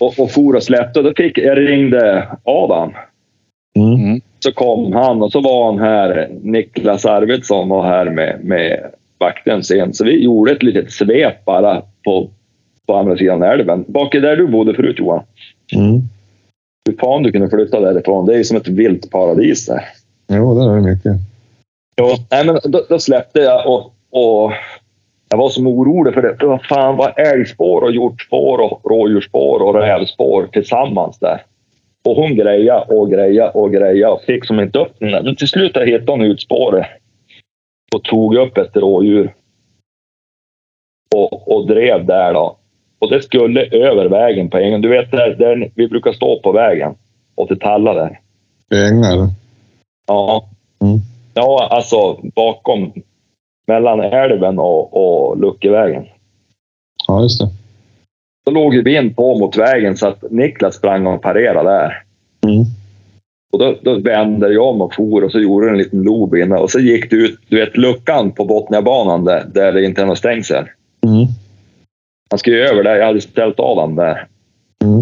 [SPEAKER 1] Och, och for och släppte. Då fick, jag ringde Adam.
[SPEAKER 2] Mm.
[SPEAKER 1] Så kom han och så var han här. Niklas Arvidsson var här med, med vakten sen. Så vi gjorde ett litet svep bara på, på andra sidan älven. Bak i där du bodde förut Johan.
[SPEAKER 2] Mm.
[SPEAKER 1] Hur fan du kunde flytta därifrån. Det är ju som ett vilt paradis där.
[SPEAKER 2] Jo, där är det mycket.
[SPEAKER 1] Jo, nej, men då, då släppte jag och, och jag var som orolig för det. Vad fan var älgspår och hjortspår och rådjursspår och rävspår tillsammans där. Och hon greja och greja och greja och fick som inte upp den där. Men Till slut hittade hon ut spåret och tog upp ett rådjur. Och, och drev där då. Och det skulle över vägen på ängen. Du vet där, där vi brukar stå på vägen och till tallar där.
[SPEAKER 2] Ängar.
[SPEAKER 1] Ja.
[SPEAKER 2] Mm.
[SPEAKER 1] Ja, alltså bakom, mellan älven och, och Luckevägen.
[SPEAKER 2] Ja, just det.
[SPEAKER 1] Då låg ju bin på mot vägen så att Niklas sprang och parerade där.
[SPEAKER 2] Mm.
[SPEAKER 1] Och då, då vände jag om och for och så gjorde det en liten lob inne och så gick det ut, du vet luckan på Botniabanan där, där det inte är några stängsel.
[SPEAKER 2] Mm.
[SPEAKER 1] Han skulle ju över där, jag hade ställt av honom där.
[SPEAKER 2] Mm.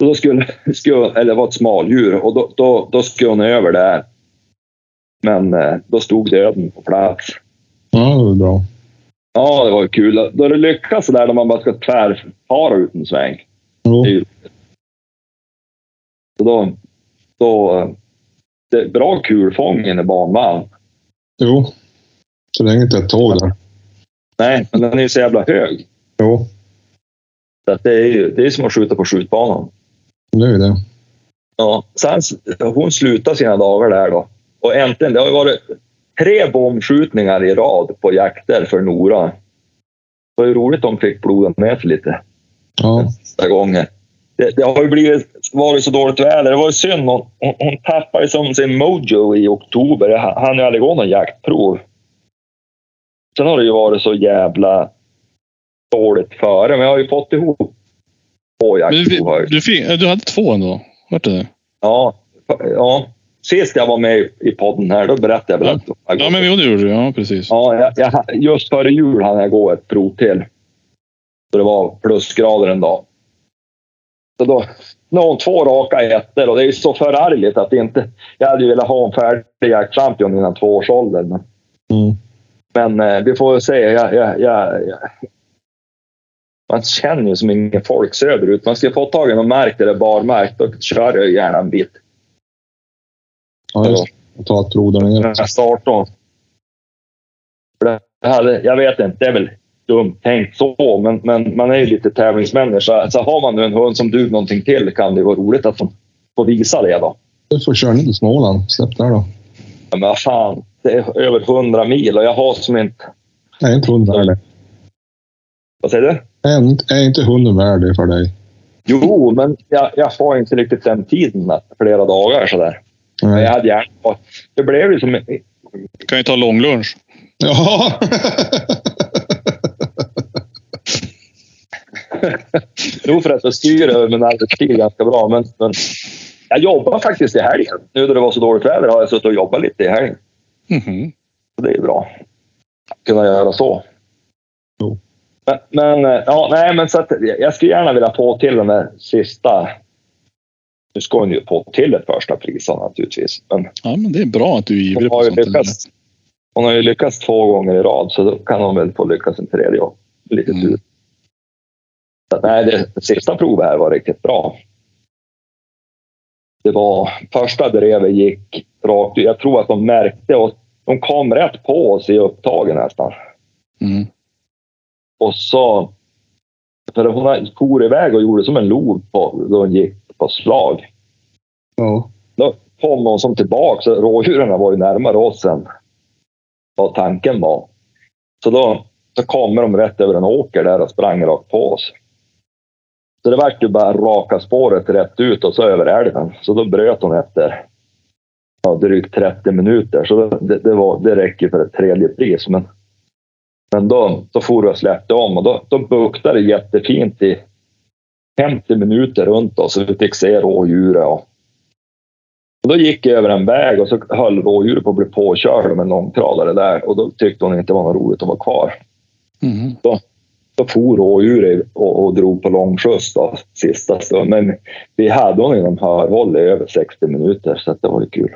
[SPEAKER 1] Och då skulle, skulle, eller det var ett smaldjur och då, då, då skulle hon över där. Men eh, då stod döden på plats.
[SPEAKER 2] Ja, det var bra.
[SPEAKER 1] Ja, det var ju kul. Då det lyckas sådär när man bara ska tvärfara ut en sväng.
[SPEAKER 2] Jo.
[SPEAKER 1] Så då, då, eh, det är bra kulfång inne i banvallen.
[SPEAKER 2] jo. Så länge inte ett tåg där.
[SPEAKER 1] Nej, men den är ju så jävla hög.
[SPEAKER 2] Jo,
[SPEAKER 1] Så att det är ju det är som att skjuta på skjutbanan.
[SPEAKER 2] det är ju det.
[SPEAKER 1] Ja. Sen, s- hon slutade sina dagar där då. Och äntligen, det har ju varit tre bombskjutningar i rad på jakter för Nora. Det var ju roligt om de fick blodat med sig lite.
[SPEAKER 2] Ja.
[SPEAKER 1] sista gången. Det, det har ju blivit, varit så dåligt väder. Det var ju synd. Hon, hon, hon tappade som sin mojo i oktober. Jag hann- hann ju aldrig gå någon jaktprov. Sen har det ju varit så jävla dåligt före, men jag har ju fått ihop två
[SPEAKER 3] Men vi,
[SPEAKER 1] jaktprov. har jag ju.
[SPEAKER 3] du, fick, du hade två ändå. Hörde du det?
[SPEAKER 1] Ja, ja. Sist jag var med i- i podden här, då berättade jag väl att
[SPEAKER 3] Ja, men jo, det gjorde du. Ja, precis.
[SPEAKER 1] Ja, jag, jag, just före jul hann jag gå ett prov till. Så det var plusgrader en dag. Så då, nu har hon två raka ettor och det är ju så förargligt att det inte... Jag hade ju velat ha en färdig jaktchampion innan tvåårsåldern. Men,
[SPEAKER 2] Mm.
[SPEAKER 1] men eh, vi får väl se. Jag, jag, jag, jag, man känner ju som ingen folk söderut. Man ska få tag i någon mark där det är barmark. Då kör jag gärna en bit.
[SPEAKER 2] Ja, just det. Och ta ett prov där nere.
[SPEAKER 1] när jag startade. För det hade, jag vet inte, det är väl dumt tänkt så, men, men man är ju lite tävlingsmänniska. Så har man nu en hund som duger någonting till kan det vara roligt att få, få visa det då.
[SPEAKER 2] Du får köra ner till Småland. Släpp där då.
[SPEAKER 1] Ja, Men vad fan, det är över 100 mil och jag har som inte...
[SPEAKER 2] Är inte hunden värd det?
[SPEAKER 1] Vad säger du?
[SPEAKER 2] Är inte- Är inte hunden värd det för dig?
[SPEAKER 1] Jo, men jag, jag har inte riktigt den tiden, att- flera dagar sådär. Men jag
[SPEAKER 2] Nej.
[SPEAKER 1] hade gärna... och Det blev ju som...
[SPEAKER 3] Kan ju ta långlunch.
[SPEAKER 2] Ja.
[SPEAKER 1] Jo, för att jag styr över min arbetstid ganska bra, men... men jag jobbar faktiskt i helgen. Nu när det var så dåligt väder har jag suttit och jobbat lite i helgen.
[SPEAKER 3] Mhm.
[SPEAKER 1] Så Det är bra. Kunna göra så.
[SPEAKER 2] Jo.
[SPEAKER 1] Men, men, eh, ja, nej, men så att, jag jag skulle gärna vilja få till den där sista. Nu ska hon ju få till ett första pris då, naturligtvis. Men
[SPEAKER 3] Ja, men det är bra att du är
[SPEAKER 1] hon
[SPEAKER 3] ivrig på
[SPEAKER 1] har, ju
[SPEAKER 3] sånt. där.
[SPEAKER 1] lyckats, hon har ju lyckats två gånger i rad så då kan hon väl få lyckas en tredje gång. Lite
[SPEAKER 3] Mm.
[SPEAKER 1] tur. Så att, nej, det sista provet här var riktigt bra. Det var första drevet gick rakt ut. Jag tror att de märkte och de kom rätt på oss i upptagen nästan.
[SPEAKER 3] Mm.
[SPEAKER 1] Och så... För hon har- for iväg och gjorde som en lov på, då hon gick på slag.
[SPEAKER 2] ja.
[SPEAKER 1] Då kom hon som tillbaka. Så rådjuren var ju närmare oss än vad tanken var. Så då så kommer de rätt över en åker där och sprang rakt på oss. Så det vart ju bara raka spåret rätt ut och så över älven. Så då bröt hon efter ja, drygt 30 minuter. Så det, det, var, det räcker för ett tredje pris. Men, men då, då for jag och släppte om och då, då buktade det jättefint i 50 minuter runt oss. Så vi fick se rådjuret. Och, och då gick jag över en väg och så höll rådjuret på att bli påkörd av en långtradare där. Och då tyckte hon inte det var något roligt att vara kvar.
[SPEAKER 3] Mhm.
[SPEAKER 1] Då for rådjuret och, och drog på långskjuts då, sista stund. Men vi hade hon inom hörhåll i över 60 minuter så att det var ju kul.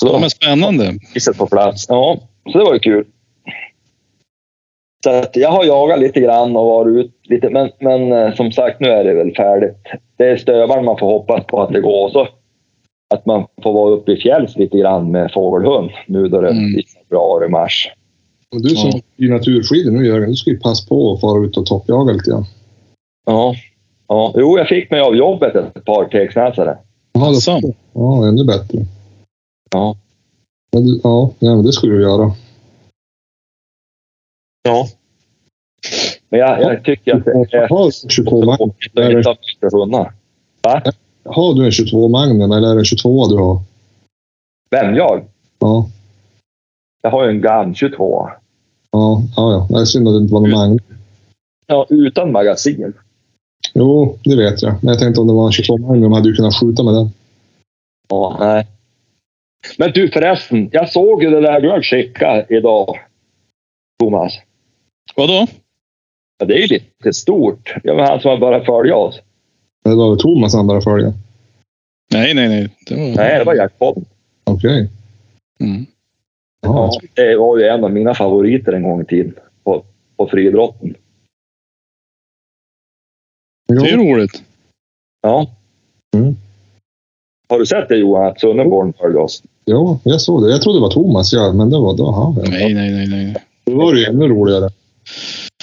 [SPEAKER 1] Så
[SPEAKER 3] Ja, men spännande.
[SPEAKER 1] priset på plats. Ja, så det var ju kul. Så att jag har jagat lite grann och varit ut lite, men, men eh, som sagt, nu är det väl färdigt. Det är stövaren man får hoppas på att det går. Så att man får vara uppe i fjälls lite grann med fågelhund nu då det
[SPEAKER 3] Mm.
[SPEAKER 1] är februari, mars.
[SPEAKER 2] Men du som i naturskidor nu Jörgen, du ska ju passa på att fara ut och toppjaga lite grann.
[SPEAKER 1] Ja. ja. Jo, jag fick mig av jobbet ett par tegsnäsare.
[SPEAKER 2] Ja, då-
[SPEAKER 3] Asså.
[SPEAKER 2] ja, ännu bättre.
[SPEAKER 1] Ja.
[SPEAKER 2] Men, du- ja, nej, men det skulle du göra.
[SPEAKER 1] Ja. Men jag, jag tycker att det är
[SPEAKER 2] Har du en 22
[SPEAKER 1] så
[SPEAKER 2] Magnum?
[SPEAKER 1] tråkigt att inte ha mindre hundar.
[SPEAKER 2] Har du en 22 Magnum eller är det en 22 du har?
[SPEAKER 1] Vem? Jag?
[SPEAKER 2] Ja,
[SPEAKER 1] Jag har ju en GAN 22.
[SPEAKER 2] ja, ja. ja. Det är synd att det inte var någon Magnum.
[SPEAKER 1] Ja, utan magasin.
[SPEAKER 2] Jo, det vet jag. Men jag tänkte om det var en 22 Magnum hade du kunnat skjuta med den.
[SPEAKER 1] Ja, nej. Men du förresten, jag såg ju det där du har skickat idag, Thomas.
[SPEAKER 3] Vadå?
[SPEAKER 1] Ja, det är ju lite stort. Ja, men han som har börjat följa oss.
[SPEAKER 2] Mm. Men Det var väl Thomas han började följa?
[SPEAKER 3] Nej, nej, nej. Det var...
[SPEAKER 1] Nej, det var jackpot.
[SPEAKER 2] Okej.
[SPEAKER 3] Mm.
[SPEAKER 2] Ja.
[SPEAKER 1] Ja, det var ju en av mina favoriter en gång i tiden på, på friidrotten.
[SPEAKER 3] Det är
[SPEAKER 2] Jo,
[SPEAKER 3] roligt.
[SPEAKER 1] Ja.
[SPEAKER 2] Mm.
[SPEAKER 1] Har du sett det Johan, att Sunneborn följde oss?
[SPEAKER 2] jo, jag såg det. Jag trodde det var Thomas, ja, men det var, det var han. Ja.
[SPEAKER 3] Nej, nej, nej, nej.
[SPEAKER 2] Då var det ju ännu roligare.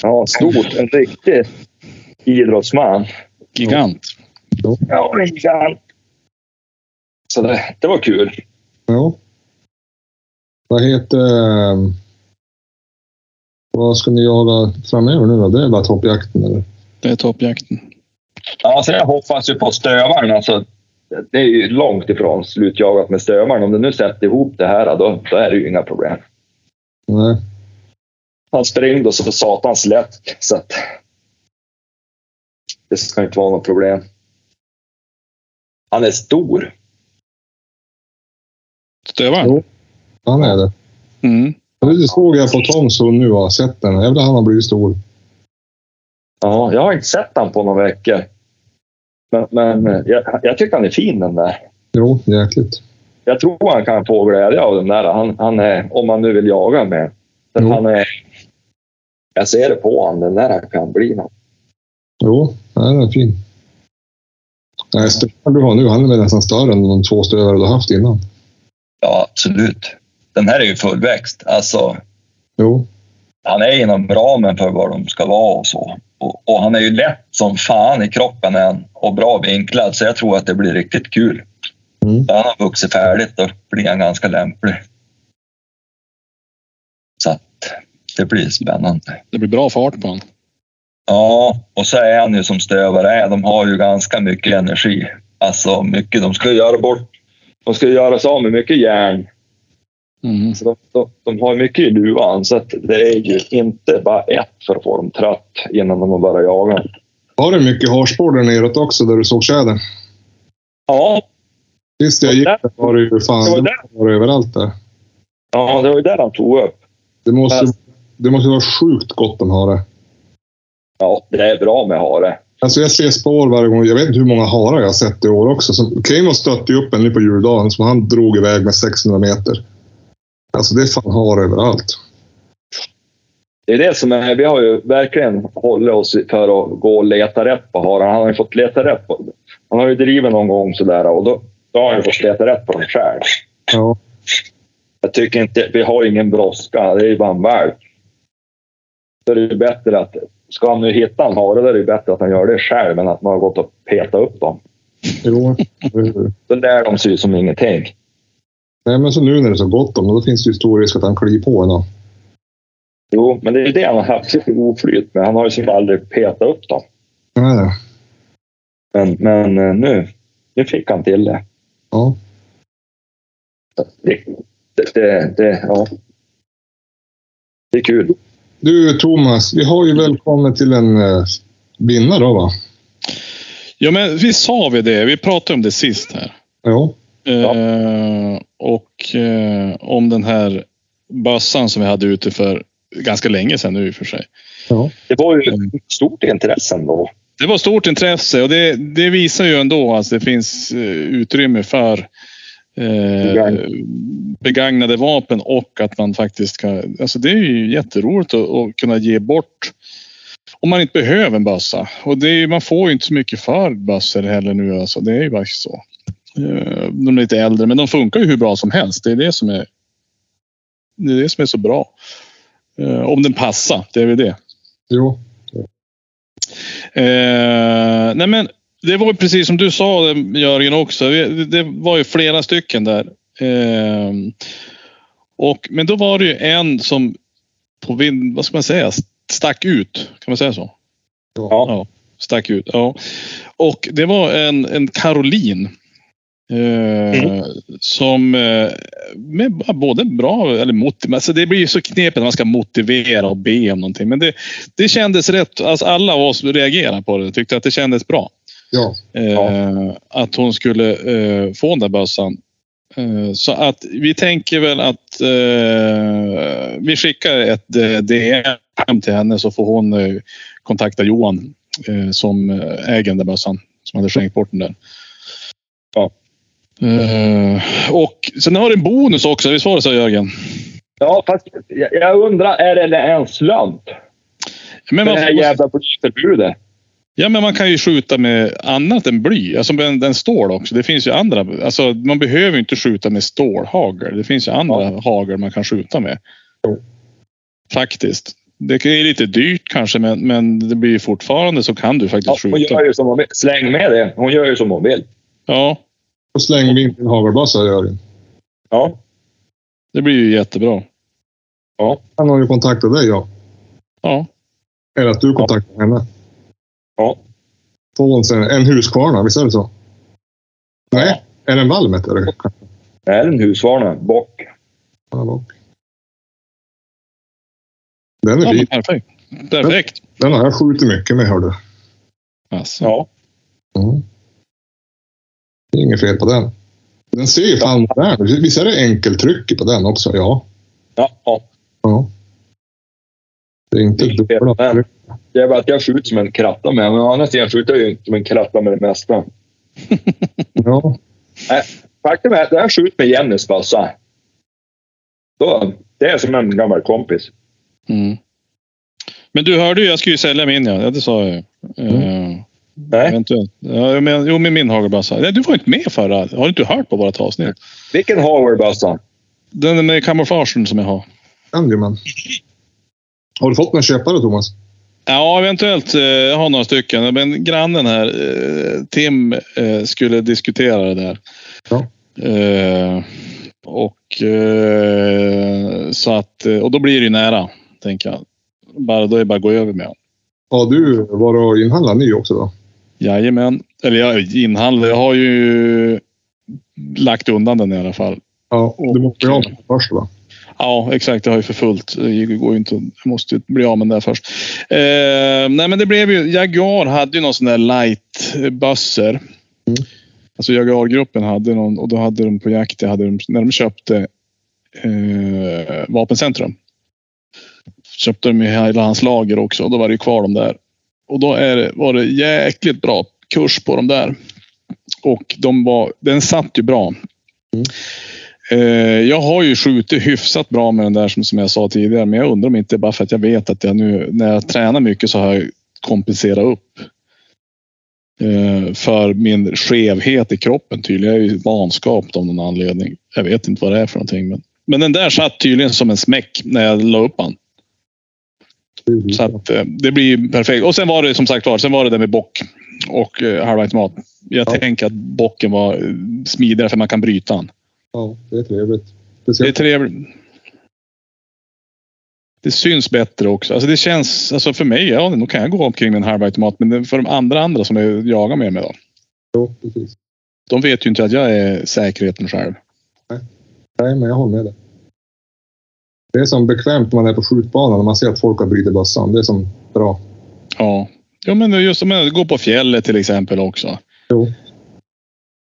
[SPEAKER 1] Ja, stort. En riktig idrottsman.
[SPEAKER 3] Gigant.
[SPEAKER 1] Ja, en gigant. Så det, det var kul.
[SPEAKER 2] Ja. Vad heter... ehm, Vad ska ni jaga framöver nu då? Det är bara toppjakten eller?
[SPEAKER 3] Det är toppjakten.
[SPEAKER 1] Ja, så jag hoppas ju på stövaren. Alltså, det är ju långt ifrån slutjagat med stövaren. Om du nu sätter ihop det här, då, då är det ju inga problem.
[SPEAKER 2] Nej.
[SPEAKER 1] Han sprängde så satans lätt. Så att det ska inte vara något problem. Han är stor.
[SPEAKER 3] Stövaren.
[SPEAKER 2] Han är det.
[SPEAKER 3] Mm.
[SPEAKER 2] Men Det såg jag på Toms hund nu och har sett den. Jävlar han har blivit stor.
[SPEAKER 1] Ja, jag har inte sett han på några veckor. Men, men eh, jag, jag tycker han är fin den där.
[SPEAKER 2] Jo, jäkligt.
[SPEAKER 1] Jag tror han kan få glädje av den där. Han, han är, om man nu vill jaga med. För
[SPEAKER 2] Jo.
[SPEAKER 1] han är, jag ser det på honom. Den där kan bli något.
[SPEAKER 2] Jo, nej, den är fin. Nej, stövaren du har nu, han är väl nästan större än de två stövare du har haft innan.
[SPEAKER 1] Ja, absolut. Den här är ju fullväxt. Alltså,
[SPEAKER 2] Jo.
[SPEAKER 1] han är inom ramen för vad de ska vara och så. Och, och han är ju lätt som fan i kroppen än och bra vinklad så jag tror att det blir riktigt kul.
[SPEAKER 2] Mm.
[SPEAKER 1] När han har vuxit färdigt då blir han ganska lämplig. Så att det blir spännande.
[SPEAKER 3] Det blir bra fart på honom.
[SPEAKER 1] Ja, och så är han ju som stövare är. De har ju ganska mycket energi. Alltså mycket. De ska göra bort. De ska göra sig av med mycket järn.
[SPEAKER 3] Mm.
[SPEAKER 1] Så de, de, de har mycket i luvan så att det är ju inte bara ett för att få dem trött innan de har börjat jaga.
[SPEAKER 2] Var det mycket harspår där neråt också, där du såg tjädern?
[SPEAKER 1] Ja,
[SPEAKER 2] Sist jag gick där var det ju
[SPEAKER 1] Det var
[SPEAKER 2] fan, det var överallt där.
[SPEAKER 1] ja det var ju där han tog upp.
[SPEAKER 2] Det måste,
[SPEAKER 1] Fast-
[SPEAKER 2] det måste vara sjukt gott om hare.
[SPEAKER 1] Ja, det är bra med hare.
[SPEAKER 2] Alltså jag ser spår varje gång. Jag vet inte hur många harar jag har sett i år också. Så Keimo stötte ju upp en nu på juldagen som han drog iväg med 600 meter. Alltså det är fan hare överallt.
[SPEAKER 1] Det är det som är. Vi har ju verkligen hållit oss för att gå och leta rätt på haren. Han har ju fått leta rätt på Han har ju drivit någon gång sådär och då, då har han ju fått leta rätt på dem själv.
[SPEAKER 2] Ja.
[SPEAKER 1] Jag tycker inte, vi har ingen brådska. Det är ju bara en valp. Då är det ju bättre att, ska han nu hitta en hare, då är det ju bättre att han gör det själv än att man har gått och petat upp dem.
[SPEAKER 2] Jo. eller hur?
[SPEAKER 1] Då lär de sig ju som ingenting.
[SPEAKER 2] Nej men så nu när det är så gott om då finns det ju stor risk att han kliver på en. då.
[SPEAKER 1] Jo, men det är ju det han har haft lite oflyt med. Han har ju som aldrig petat upp dem.
[SPEAKER 2] Nej.
[SPEAKER 1] Men, men eh, nu, nu fick han till det.
[SPEAKER 2] Ja.
[SPEAKER 1] Det, det, det, det, ja. det är kul.
[SPEAKER 2] Du Thomas, vi har ju välkommen till en eh, vinnare då va?
[SPEAKER 3] Ja, men vi sa vi det. Vi pratade om det sist här.
[SPEAKER 2] Ja.
[SPEAKER 1] Ja.
[SPEAKER 3] Eh, och eh, om den här bössan som vi hade ute för ganska länge sedan nu i och för sig.
[SPEAKER 1] Det var ju ett stort intresse ändå.
[SPEAKER 3] Det var stort intresse och det, det visar ju ändå att det finns eh, utrymme för eh,
[SPEAKER 1] Begagn-
[SPEAKER 3] begagnade vapen och att man faktiskt kan... Alltså det är ju jätteroligt att, att kunna ge bort om man inte behöver en bössa. Och det är, ju- man får ju inte så mycket för bössor heller nu. Alltså det är ju faktiskt så. Eh, De är lite äldre, men de funkar ju hur bra som helst. Det är det som är, det är, det som är så bra. Eh, Om den passar, det är väl det.
[SPEAKER 2] Jo.
[SPEAKER 3] Eh, nej men, det var ju precis som du sa eh, Jörgen också. Vi- Det var ju flera stycken där. Eh, och, men då var det ju en som på vind, vad ska man säga, stack ut. Kan man säga så?
[SPEAKER 1] Ja.
[SPEAKER 3] Stack ut, ja. Och det var en, en Caroline. Eh, Som eh, med b- både bra, eller motiv, alltså det blir ju så knepigt när man ska motivera och be om någonting. Men det, det kändes rätt. Alltså alla av oss reagerade på det tyckte att det kändes bra.
[SPEAKER 2] Ja.
[SPEAKER 3] Eh,
[SPEAKER 1] Ja.
[SPEAKER 3] Att hon skulle eh, få den där bössan. Eh, så att vi tänker väl att eh, vi skickar ett eh, DM till henne så får hon eh, kontakta Johan eh, som eh, äger den där bössan. Som hade skänkt bort den där.
[SPEAKER 1] Ja.
[SPEAKER 3] Eh, och sen har du en bonus också. Visst var det så Jörgen?
[SPEAKER 1] Ja, fast jag, jag undrar, är det en slump?
[SPEAKER 3] Men
[SPEAKER 1] Det
[SPEAKER 3] man,
[SPEAKER 1] här jävla polisförbudet.
[SPEAKER 3] ja, men man kan ju skjuta med annat än bly. Alltså med en, den stål också. Det finns ju andra. Alltså, man behöver ju inte skjuta med stålhagel. Det finns ju andra hagel man kan skjuta med. Faktiskt. Det är lite dyrt kanske, men, men det blir ju fortfarande så kan du
[SPEAKER 1] Ja,
[SPEAKER 3] faktiskt
[SPEAKER 1] hon
[SPEAKER 3] skjuta.
[SPEAKER 1] gör ju som hon vill. Släng med det. Hon gör ju som hon vill.
[SPEAKER 3] Ja,
[SPEAKER 2] Och släng vinkeln hagelbössa gör det.
[SPEAKER 1] Ja.
[SPEAKER 3] det blir ju jättebra.
[SPEAKER 2] Han har ju kontaktat dig, ja.
[SPEAKER 3] Ja,
[SPEAKER 2] Eller att du kontaktar henne.
[SPEAKER 1] Ja.
[SPEAKER 2] Får hon sen en huskvarna, visst är det så? Nej, är det en valm heter det?
[SPEAKER 1] Det är en husvarna. Bock.
[SPEAKER 2] Ja, då. Den är
[SPEAKER 3] ja men
[SPEAKER 2] fin.
[SPEAKER 3] perfekt. Perfekt.
[SPEAKER 2] Den har jag skjutit mycket med, hör du.
[SPEAKER 3] Alltså.
[SPEAKER 1] Ja.
[SPEAKER 2] Mm. Det är inget fel på den. Den ser ju fan modern ut. Visst är det enkeltryck på den också? Ja.
[SPEAKER 1] Ja. ja.
[SPEAKER 2] ja. Det är inte
[SPEAKER 1] Det är inget fel på
[SPEAKER 2] dubbla
[SPEAKER 1] den.
[SPEAKER 2] tryck.
[SPEAKER 1] Det är bara att jag skjuter som en kratta med. Men å andra sidan skjuter jag ju inte som en kratta med det mesta.
[SPEAKER 2] Ja.
[SPEAKER 1] Faktum är att jag skjuter med Jennys bössa. Då- Det är som en gammal kompis.
[SPEAKER 3] Mm. Men du hörde ju, jag skulle ju sälja min ja. ja det sa jag ju.
[SPEAKER 1] Mm.
[SPEAKER 3] Eh,
[SPEAKER 1] Nej.
[SPEAKER 3] Eventuellt. Ja, jag men, jo, med min hagelbössa. Nej, Du var inte med förra. Har du inte hört på vårt avsnitt?
[SPEAKER 1] Vilken Howard-bössa?
[SPEAKER 3] Den med kamouflagen som jag har.
[SPEAKER 2] Jajamän. Har du fått några köpare, Thomas?
[SPEAKER 3] Ja, eventuellt. eh, Jag har några stycken. Men grannen här, eh, Tim, eh, skulle diskutera det där.
[SPEAKER 2] Ja.
[SPEAKER 3] Eh, Och, eh, så att, eh, och då blir det ju nära, tänker jag. Bara, då är det bara att gå över med honom.
[SPEAKER 2] Ja, du var och inhandlade ny också då?
[SPEAKER 3] Jajamän. Eller jag inhandlar. Jag har ju lagt undan den i alla fall.
[SPEAKER 2] Ja, du måste ju ha
[SPEAKER 3] Okej.
[SPEAKER 2] den först va?
[SPEAKER 3] Ja, exakt. Jag har ju för fullt. Det går ju inte. Jag måste ju bli av med den där först. Eh, nej, men det blev ju... Jaguar hade ju någon sån där light eh, busser. Alltså Jaguargruppen hade någon och då hade de på jakt hade de, när de köpte eh, Vapencentrum. Köpte de ju hela hans lager också och då var det ju kvar de där. Och då är det, var det jäkligt bra kurs på de där. Och de var, den satt ju bra. Eh, jag har ju skjutit hyfsat bra med den där som, som jag sa tidigare. Men jag undrar om inte bara för att jag vet att jag nu när jag tränar mycket så har jag kompenserat upp. Eh, för min skevhet i kroppen tydligen. Jag är ju vanskapt av någon anledning. Jag vet inte vad det är för någonting. Men, men den där satt tydligen som en smäck när jag la upp han. Så
[SPEAKER 2] Mm.
[SPEAKER 3] att, eh, det blir ju perfekt. Och sen var det som sagt var, sen var det där med bock och eh, halvautomat. Jag
[SPEAKER 2] Ja.
[SPEAKER 3] tänker att bocken var eh, smidigare för man kan bryta han.
[SPEAKER 2] Ja, det är trevligt.
[SPEAKER 3] Det är
[SPEAKER 2] Speciellt
[SPEAKER 3] trevligt. Det syns bättre också. Alltså det känns, alltså för mig, ja, då kan jag gå omkring med en halvautomat. Men det- för de andra andra som jag jagar med mig då.
[SPEAKER 2] då, precis.
[SPEAKER 3] De vet ju inte att jag är säkerheten själv.
[SPEAKER 2] Nej, men jag håller med dig. Det är som bekvämt när man är på skjutbanan och man ser att folk har brutit bössan. Det är som bra.
[SPEAKER 3] Ja. Ja men just om man går på fjället till exempel också.
[SPEAKER 2] Jo.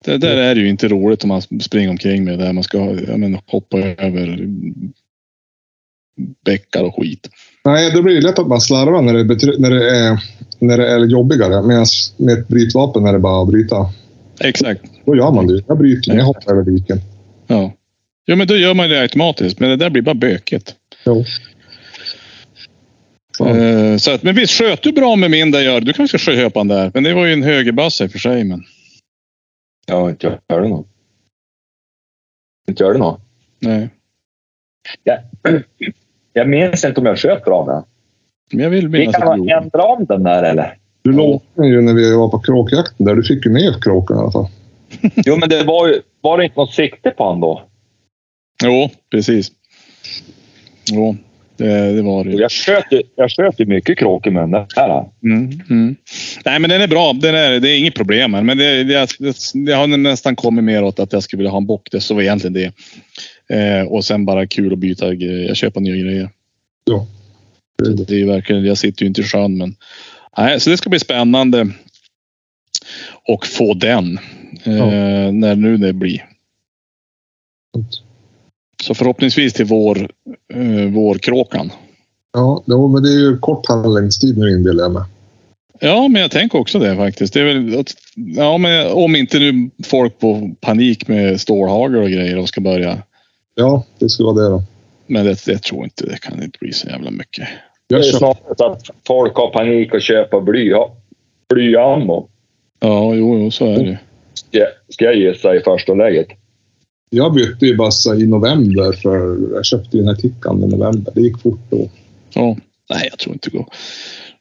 [SPEAKER 3] Det där är ju inte roligt om man springer omkring med det där. Man ska ja, men, hoppa över bäckar och skit.
[SPEAKER 2] Nej, då blir det lätt att man slarvar när det, är betry- när det, är, när det är jobbigare. Medan med ett brytvapen är det bara att bryta.
[SPEAKER 3] Exakt.
[SPEAKER 2] Då gör man det. Jag bryter, jag hoppar över diken.
[SPEAKER 3] Ja. Ja men då gör man det automatiskt. Men det där blir bara bökigt.
[SPEAKER 2] Jo. Fan.
[SPEAKER 3] Eh, Så att, men visst sköt du bra med min där gör Du kanske ska köpa en där. Men det var ju en högerbössa i och för sig. Men...
[SPEAKER 1] Ja, inte gör det något. Inte gör det något.
[SPEAKER 3] Nej.
[SPEAKER 1] Jag minns inte om jag sköt bra den.
[SPEAKER 3] Men jag vill
[SPEAKER 1] Vi
[SPEAKER 3] minnas
[SPEAKER 1] kan
[SPEAKER 3] att du
[SPEAKER 1] ha
[SPEAKER 3] gjorde.
[SPEAKER 1] ändra om den där eller?
[SPEAKER 2] Du lovade ju när vi var på kråkjakten där. Du fick ju med kråkan i alla fall.
[SPEAKER 1] Jo, men det var ju... Var det inte något sikte på han då?
[SPEAKER 3] Jo, precis. Jo, det, det var det ju.
[SPEAKER 1] Och Jag sköt ju, jag sköt ju mycket kråkor med den där.
[SPEAKER 3] Mm, mm. Nej, men den är bra. Den är, det är inget problem. här. Men det, det, det, det har nästan kommit mer åt att jag skulle vilja ha en bock. Det så var egentligen det. Eh, och sen bara kul att byta grejer. Jag köper nya grejer.
[SPEAKER 2] Ja.
[SPEAKER 3] Så Det är ju verkligen, jag sitter ju inte i sjön, men nej, så det ska bli spännande. Och få den. Eh, När nu det blir. Så förhoppningsvis till vår, eh, vårkråkan.
[SPEAKER 2] Ja, det var, men det är ju kort handläggningstid nu inbillar jag mig.
[SPEAKER 3] Ja, men jag tänker också det faktiskt. Det är väl, att- ja, men om inte nu folk får panik med stålhagel och grejer och ska börja.
[SPEAKER 2] Ja, det skulle vara det då.
[SPEAKER 3] Men det, det tror jag inte. Det kan inte bli så jävla mycket.
[SPEAKER 1] Det är
[SPEAKER 2] Jag
[SPEAKER 1] ju
[SPEAKER 2] köpte,
[SPEAKER 1] snarare så att folk har panik och köper bly, blyammo.
[SPEAKER 3] Ja, jo, jo så är det ju.
[SPEAKER 1] Ska, ska jag gissa i första läget.
[SPEAKER 2] jag bytte ju bassa i november för jag köpte ju den här tickan i november. Det gick fort då.
[SPEAKER 3] Ja. Nej, jag tror inte det går.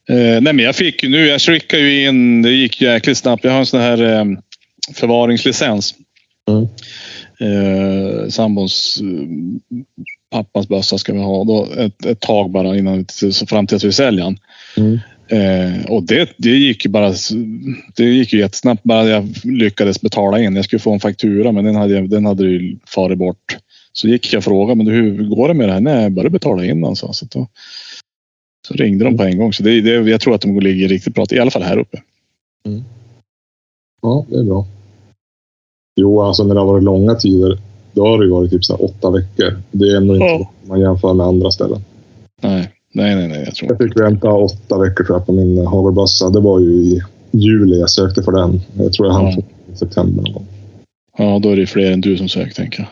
[SPEAKER 3] Eh, nej, men jag fick ju nu. Jag skickade ju in. Det gick jäkligt snabbt. Jag har en sån här eh, förvaringslicens.
[SPEAKER 2] Mm.
[SPEAKER 3] Eh, sambons eh, pappas bössa ska vi ha då ett, ett tag bara innan så fram till att vi säljer den.
[SPEAKER 2] Mm.
[SPEAKER 3] Eh, och det, det gick ju bara. s- Det gick ju jättesnabbt bara jag lyckades betala in. Jag skulle få en faktura, men den hade jag- den hade ju farit bort. Så gick jag och frågade, men du, hur går det med det här? Nej, jag började betala in alltså. Så, att då, så ringde de på en gång. Så det, det, jag tror att de ligger riktigt bra till, i alla fall här uppe.
[SPEAKER 2] Ja, det är bra. Jo, alltså när det har varit långa tider, då har det ju varit typ så här åtta veckor. Det är ändå inte
[SPEAKER 3] Ja.
[SPEAKER 2] om man jämför med andra ställen.
[SPEAKER 3] Nej, nej, nej, nej jag tror
[SPEAKER 2] Jag
[SPEAKER 3] inte.
[SPEAKER 2] fick vänta åtta veckor tror jag på min hagelbössa. Det var ju i juli jag sökte för den. Jag tror jag hann
[SPEAKER 3] Ja.
[SPEAKER 2] få den i september någon gång.
[SPEAKER 3] Ja, då är det fler än du som söker, tänker jag.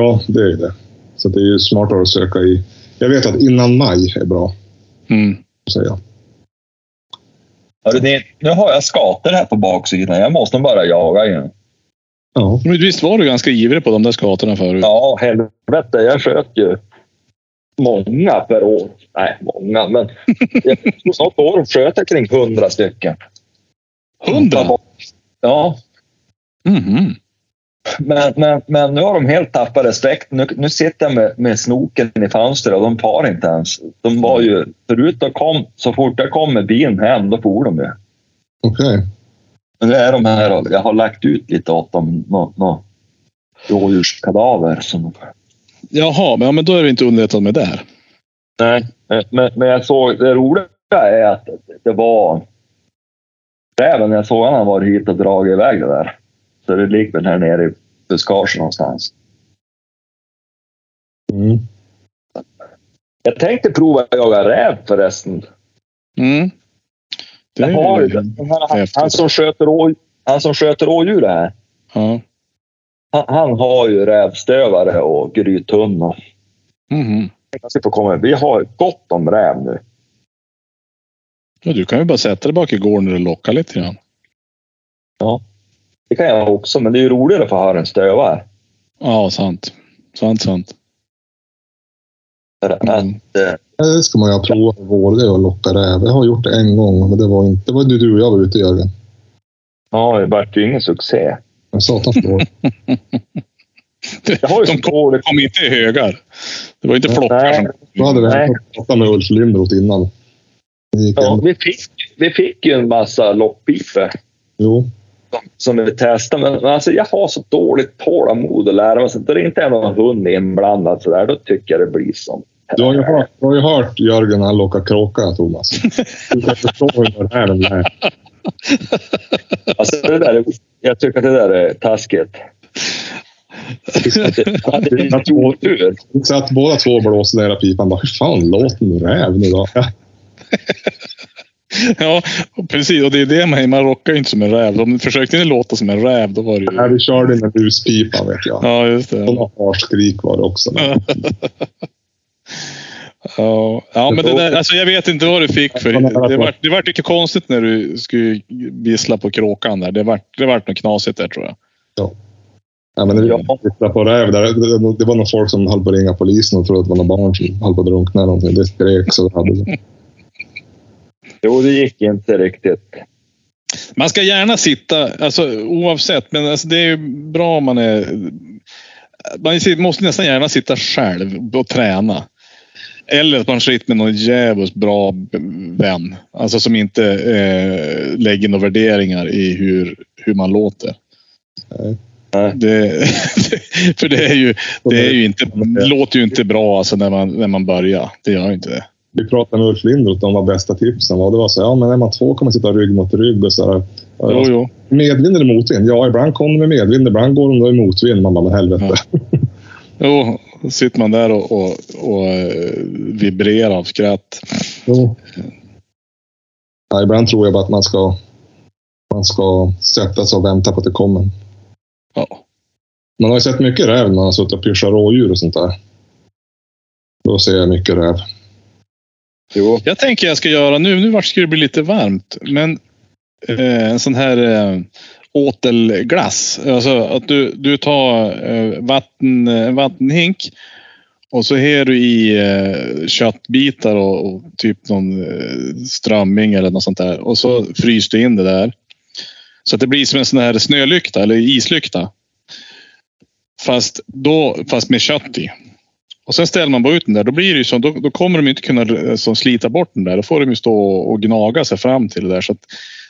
[SPEAKER 2] Ja, det är ju det. Så det är ju smartare att söka i... Jag vet att innan maj är bra,
[SPEAKER 3] Mm.
[SPEAKER 2] säger jag.
[SPEAKER 1] Hörru, det, nu har jag skator här på baksidan. Jag måste nog bara jaga igen.
[SPEAKER 2] Ja,
[SPEAKER 3] Men visst var du ganska ivrig på de där skatorna förut?
[SPEAKER 1] Ja, helvete. Jag sköt ju många per år. Nej, många, men jag, något år sköt jag kring hundra stycken.
[SPEAKER 3] Hundra?
[SPEAKER 1] Ja,
[SPEAKER 3] Mhm.
[SPEAKER 1] men, men, men nu har de helt tappat respekten. Nu, nu sitter jag med, med snoken i fönstret och de par inte ens. De var ju, förut då kom, så fort jag kom med bilen hem, då for de ju.
[SPEAKER 2] okej.
[SPEAKER 1] Men nu är de här och jag har lagt ut lite åt dem. Något nå, rådjurskadaver som de
[SPEAKER 3] Jaha, men, ja, men då är det inte underlättat med där.
[SPEAKER 1] Nej, men- men, men jag såg, det roliga är att det var räven, jag såg han han var hit och dragit iväg det där. Så det ligger väl här nere i buskagen någonstans.
[SPEAKER 2] Mm.
[SPEAKER 1] Jag tänkte prova att jaga räv förresten.
[SPEAKER 3] Mm. Det
[SPEAKER 1] Jag har ju
[SPEAKER 3] är,
[SPEAKER 1] den här, han,
[SPEAKER 3] häftigt.
[SPEAKER 1] han, som sköter å, han som sköter ådjur här,
[SPEAKER 3] ja.
[SPEAKER 1] han, han har ju rävstövare och grythund. Och,
[SPEAKER 3] Mhm.
[SPEAKER 1] jag ska få komma. Vi har gott om räv nu.
[SPEAKER 3] ja, du kan ju bara sätta dig bak i gården och locka lite grann.
[SPEAKER 1] Det kan jag också, men det är ju roligare för att höra en stövare.
[SPEAKER 3] Ja, sant. Sant, sant.
[SPEAKER 1] För att, eh,
[SPEAKER 3] Mm.
[SPEAKER 2] Nej, Det ska man ju ha provat i vår, det är att locka räv. Jag har gjort det en gång, men det var inte... Det var ju du och jag var ute Jörgen.
[SPEAKER 1] Ja, det vart ju ingen succé.
[SPEAKER 2] Men satan förlåt.
[SPEAKER 1] Jag har ju
[SPEAKER 3] De
[SPEAKER 1] så dålig
[SPEAKER 3] kom inte i högar. Det var inte flockar
[SPEAKER 1] Nej.
[SPEAKER 3] som...
[SPEAKER 2] Då hade vi
[SPEAKER 1] Nej.
[SPEAKER 2] ändå pratat med Ulf Lindroth innan. Det gick
[SPEAKER 1] Ja,
[SPEAKER 2] ändå.
[SPEAKER 1] vi, fick, vi fick ju en massa lockpipor
[SPEAKER 2] Jo.
[SPEAKER 1] som vi testade. Men men alltså, jag har så dåligt tålamod att lära mig. Så när det inte är någon hund inblandad så där, då tycker jag det blir som...
[SPEAKER 2] Du har ju hört, du har ju hört Jörgen han lockar kråka, Thomas. Du kan förstå hur det här är.
[SPEAKER 1] Alltså, det där, är- jag tycker att det där är taskigt. Jag hade lite otur.
[SPEAKER 2] Så att båda två blåser ner i pipan. Bara, hur fan låter en räv nu då? Ja,
[SPEAKER 3] ja, och precis. Och det är det med Man rockar ju inte som en räv. De försökte ni låta som en räv, då var det
[SPEAKER 2] Nej,
[SPEAKER 3] ju...
[SPEAKER 2] vi körde in en huspipa vet jag.
[SPEAKER 3] Ja, just det.
[SPEAKER 2] Sådana harskrik var det också. Men
[SPEAKER 3] Ja, ja men det där, alltså jag vet inte vad du fick för det. Det vart det var lite konstigt när du skulle vissla på kråkan där. Det vart det var något knasigt där tror jag.
[SPEAKER 2] Ja, men när vi
[SPEAKER 1] Ja.
[SPEAKER 2] tittade på räv, där, det, det var nog folk som höll på att ringa polisen och trodde att det var några barn som höll på att drunkna. eller någonting. Det skrek så det hade
[SPEAKER 1] Jo, det gick inte riktigt.
[SPEAKER 3] Man ska gärna sitta, alltså, oavsett. Men alltså, det är ju bra om man är... Man sit- måste nästan gärna sitta själv och träna. Eller att man sitter med någon djävulskt bra b- vän. Alltså som inte eh, lägger några värderingar i hur, hur man låter.
[SPEAKER 2] Nej.
[SPEAKER 1] Nej.
[SPEAKER 3] Det, för det är ju, det är ju inte, låter ju inte bra alltså, när, man, när man börjar. Det gör ju inte det.
[SPEAKER 2] Vi pratade med Ulf Lindroth om vad bästa tipsen var. Det var så ja men är man två kan man sitta rygg mot rygg och så här. alltså,
[SPEAKER 3] Jo, jo.
[SPEAKER 2] Medvind eller motvind? Ja, ibland kommer de med medvind, ibland går de då i motvind. Man bara, men helvete.
[SPEAKER 3] Ja. Jo, då sitter man där och, och, och eh, vibrerar av skratt.
[SPEAKER 2] Jo. Ja, ibland tror jag bara att man ska, man ska sätta sig och vänta på att det kommer.
[SPEAKER 3] Ja.
[SPEAKER 2] Man har ju sett mycket räv när man har suttit och pyschat rådjur och sånt där. Då ser jag mycket räv.
[SPEAKER 1] Jo,
[SPEAKER 3] Jag tänker jag ska göra nu, nu vart ska det bli lite varmt, men eh, en sån här eh, åtelglass. Alltså att du, du tar eh, vatten, en vattenhink och så har du i eh, köttbitar och, och typ någon eh, strömming eller något sånt där. Och så fryser du in det där. Så att det blir som en sån här snölykta eller islykta. Fast, då, fast med kött i. Och sen ställer man bara ut den där. Då, blir det ju så, då, då kommer de ju inte kunna eh, så, slita bort den där. Då får de ju stå och, och gnaga sig fram till det där. Så att,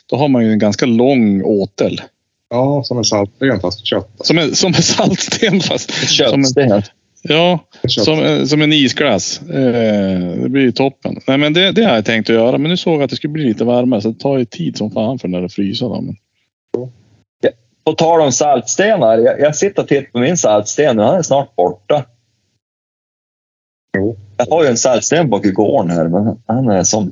[SPEAKER 3] då har man ju en ganska lång åtel.
[SPEAKER 2] Ja, som en saltsten fast kött.
[SPEAKER 3] Som en, som en saltsten fast... Som en,
[SPEAKER 1] köttsten.
[SPEAKER 3] ja,
[SPEAKER 2] Kött.
[SPEAKER 3] som, en- som en isglass. Eh, det blir ju toppen. Nej, men det, det har jag tänkt att göra. Men nu såg jag att det skulle bli lite varmare. Så det tar ju tid som fan för den där att frysa. Då. Men,
[SPEAKER 1] På tal om saltstenar. Jag, jag sitter och tittar på min saltsten nu. Han är snart borta.
[SPEAKER 2] Jo.
[SPEAKER 1] Jag har ju en saltsten bak i gården här, men han är som...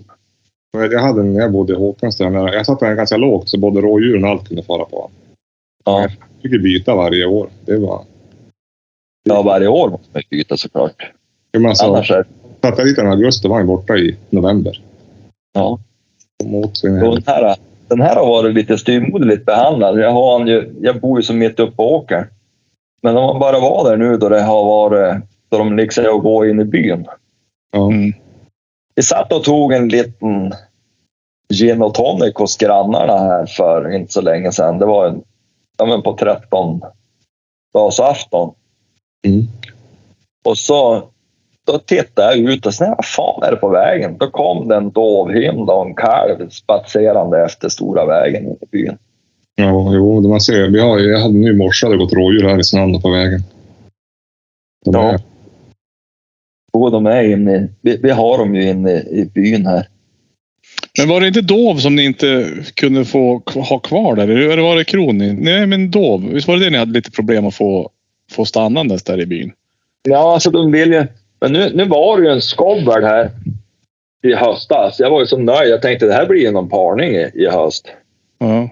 [SPEAKER 2] Jag hade en när jag bodde i Håkansten. men Jag satte den ganska lågt så både rådjuren och allt kunde fara på den.
[SPEAKER 1] Ja,
[SPEAKER 2] Jag fick ju byta varje år. Det var...
[SPEAKER 1] ja, varje år måste man ju byta såklart.
[SPEAKER 2] Jag menar, så,
[SPEAKER 1] Annars är
[SPEAKER 2] alltså, satte jag dit den i augusti var den borta i november.
[SPEAKER 1] Ja.
[SPEAKER 2] Mot sin
[SPEAKER 1] Och den, här, den här har varit lite styvmoderligt behandlad. Jag, har han ju, jag bor ju som mitt uppe på åkern. Men om man bara var där nu då det har varit... Då de liksom att gå in i byn.
[SPEAKER 2] ja.
[SPEAKER 3] mm.
[SPEAKER 1] Vi satt och tog en liten gin och tonic hos grannarna här för inte så länge sedan. Det var en, ja, men på 13 dagsafton.
[SPEAKER 2] Mm.
[SPEAKER 1] Och så då tittade jag ut och så, vad fan är det på vägen? Då kom det en dovhynda och en kalv spatserande efter stora vägen in i byn.
[SPEAKER 2] Ja, jo, det man ser. Vi har, jag hade nu i morse hade det gått rådjur här i Snanda på vägen. De
[SPEAKER 1] Ja.
[SPEAKER 2] är-
[SPEAKER 1] Och de är inne, i- vi, vi har dem ju inne i, i byn här.
[SPEAKER 3] men var det inte dov som ni inte kunde få k- ha kvar där? Eller eller var det kron? ni- Nej, men dov. Visst var det det ni hade lite problem att få, få stannandes där i byn?
[SPEAKER 1] Ja, alltså de vill ju... Men nu, nu var det ju en skobbel här i höstas. Jag var ju så nöjd. Jag tänkte det här blir ju någon parning i, i höst.
[SPEAKER 3] Ja.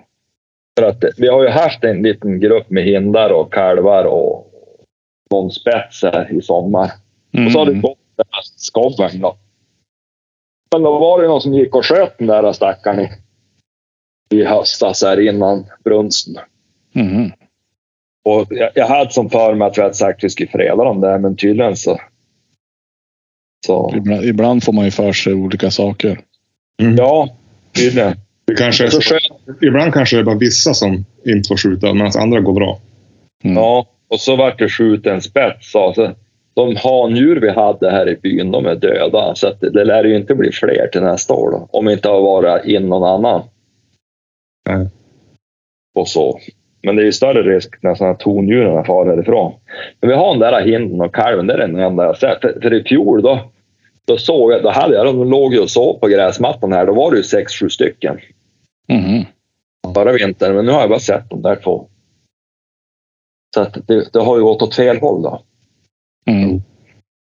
[SPEAKER 1] För att vi har ju haft en liten grupp med hindar och kalvar och någon spets här i sommar. Och så har det
[SPEAKER 3] Mm.
[SPEAKER 1] gått den här skoven då. Men då var det någon som gick och sköt den där stackaren i, i höstas här innan brunsten.
[SPEAKER 3] Mhm.
[SPEAKER 1] Och jag, jag hade som för mig att vi hade sagt att vi skulle freda dem där, men tydligen så... så
[SPEAKER 3] Ibland, ibland får man ju för sig olika saker.
[SPEAKER 1] ja, tydligen.
[SPEAKER 2] Det kanske är
[SPEAKER 1] Så
[SPEAKER 2] så,
[SPEAKER 1] sköt,
[SPEAKER 2] ibland kanske det är bara vissa som inte får skjuta, medan andra går bra.
[SPEAKER 3] Mm.
[SPEAKER 1] ja, och så vart det skjuten spets. Alltså, de handjur vi hade här i byn, de är döda. Så att det, det lär ju inte bli fler till nästa år. Då, om inte har varit in någon annan.
[SPEAKER 2] Nej.
[SPEAKER 1] och så. Men det är ju större risk när sådana tondjuren far därifrån. Men vi har den där hinden och kalven, det är den enda jag sett. För, för i fjol då, då såg jag, då hade jag, de låg ju och sov på gräsmattan här, då var det ju sex, sju stycken
[SPEAKER 3] Mhm.
[SPEAKER 1] förra vintern. Men nu har jag bara sett de där två. Så att det, det har ju gått åt fel håll då.
[SPEAKER 3] Mm.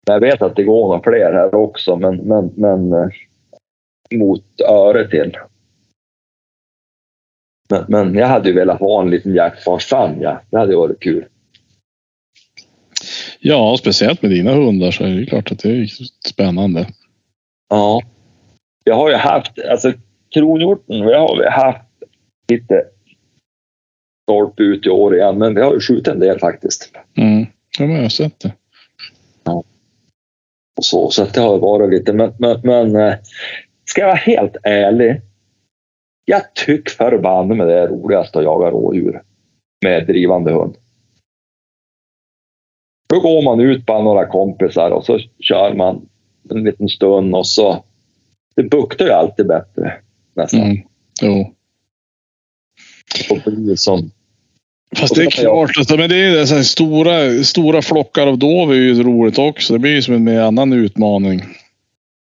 [SPEAKER 1] Jag vet att det går några fler här också, men, men, men eh, mot öre till. Men, men jag hade ju velat ha en liten jaktfarsan, ja. Det hade ju varit kul.
[SPEAKER 3] Ja, och speciellt med dina hundar så är det ju klart att det är spännande.
[SPEAKER 1] Ja. Jag har ju haft, alltså kronhjorten, vi har väl haft lite stolpe ut i år igen, men vi har ju skjutit en del faktiskt.
[SPEAKER 3] Mm. Ja, men jag har sett det.
[SPEAKER 1] Och så så att det har varit lite, men, men, men eh, ska jag vara helt ärlig. Jag tycker förbanne med det är roligast att jaga rådjur med drivande hund. Då går man ut bland några kompisar och så kör man en liten stund och så. Det buktar ju alltid bättre nästan.
[SPEAKER 3] Mm. Jo.
[SPEAKER 1] Och blir som,
[SPEAKER 3] Fast det är klart, alltså, men det är ju det, så här, stora, stora flockar av dov är ju roligt också. Det blir ju som en mer annan utmaning.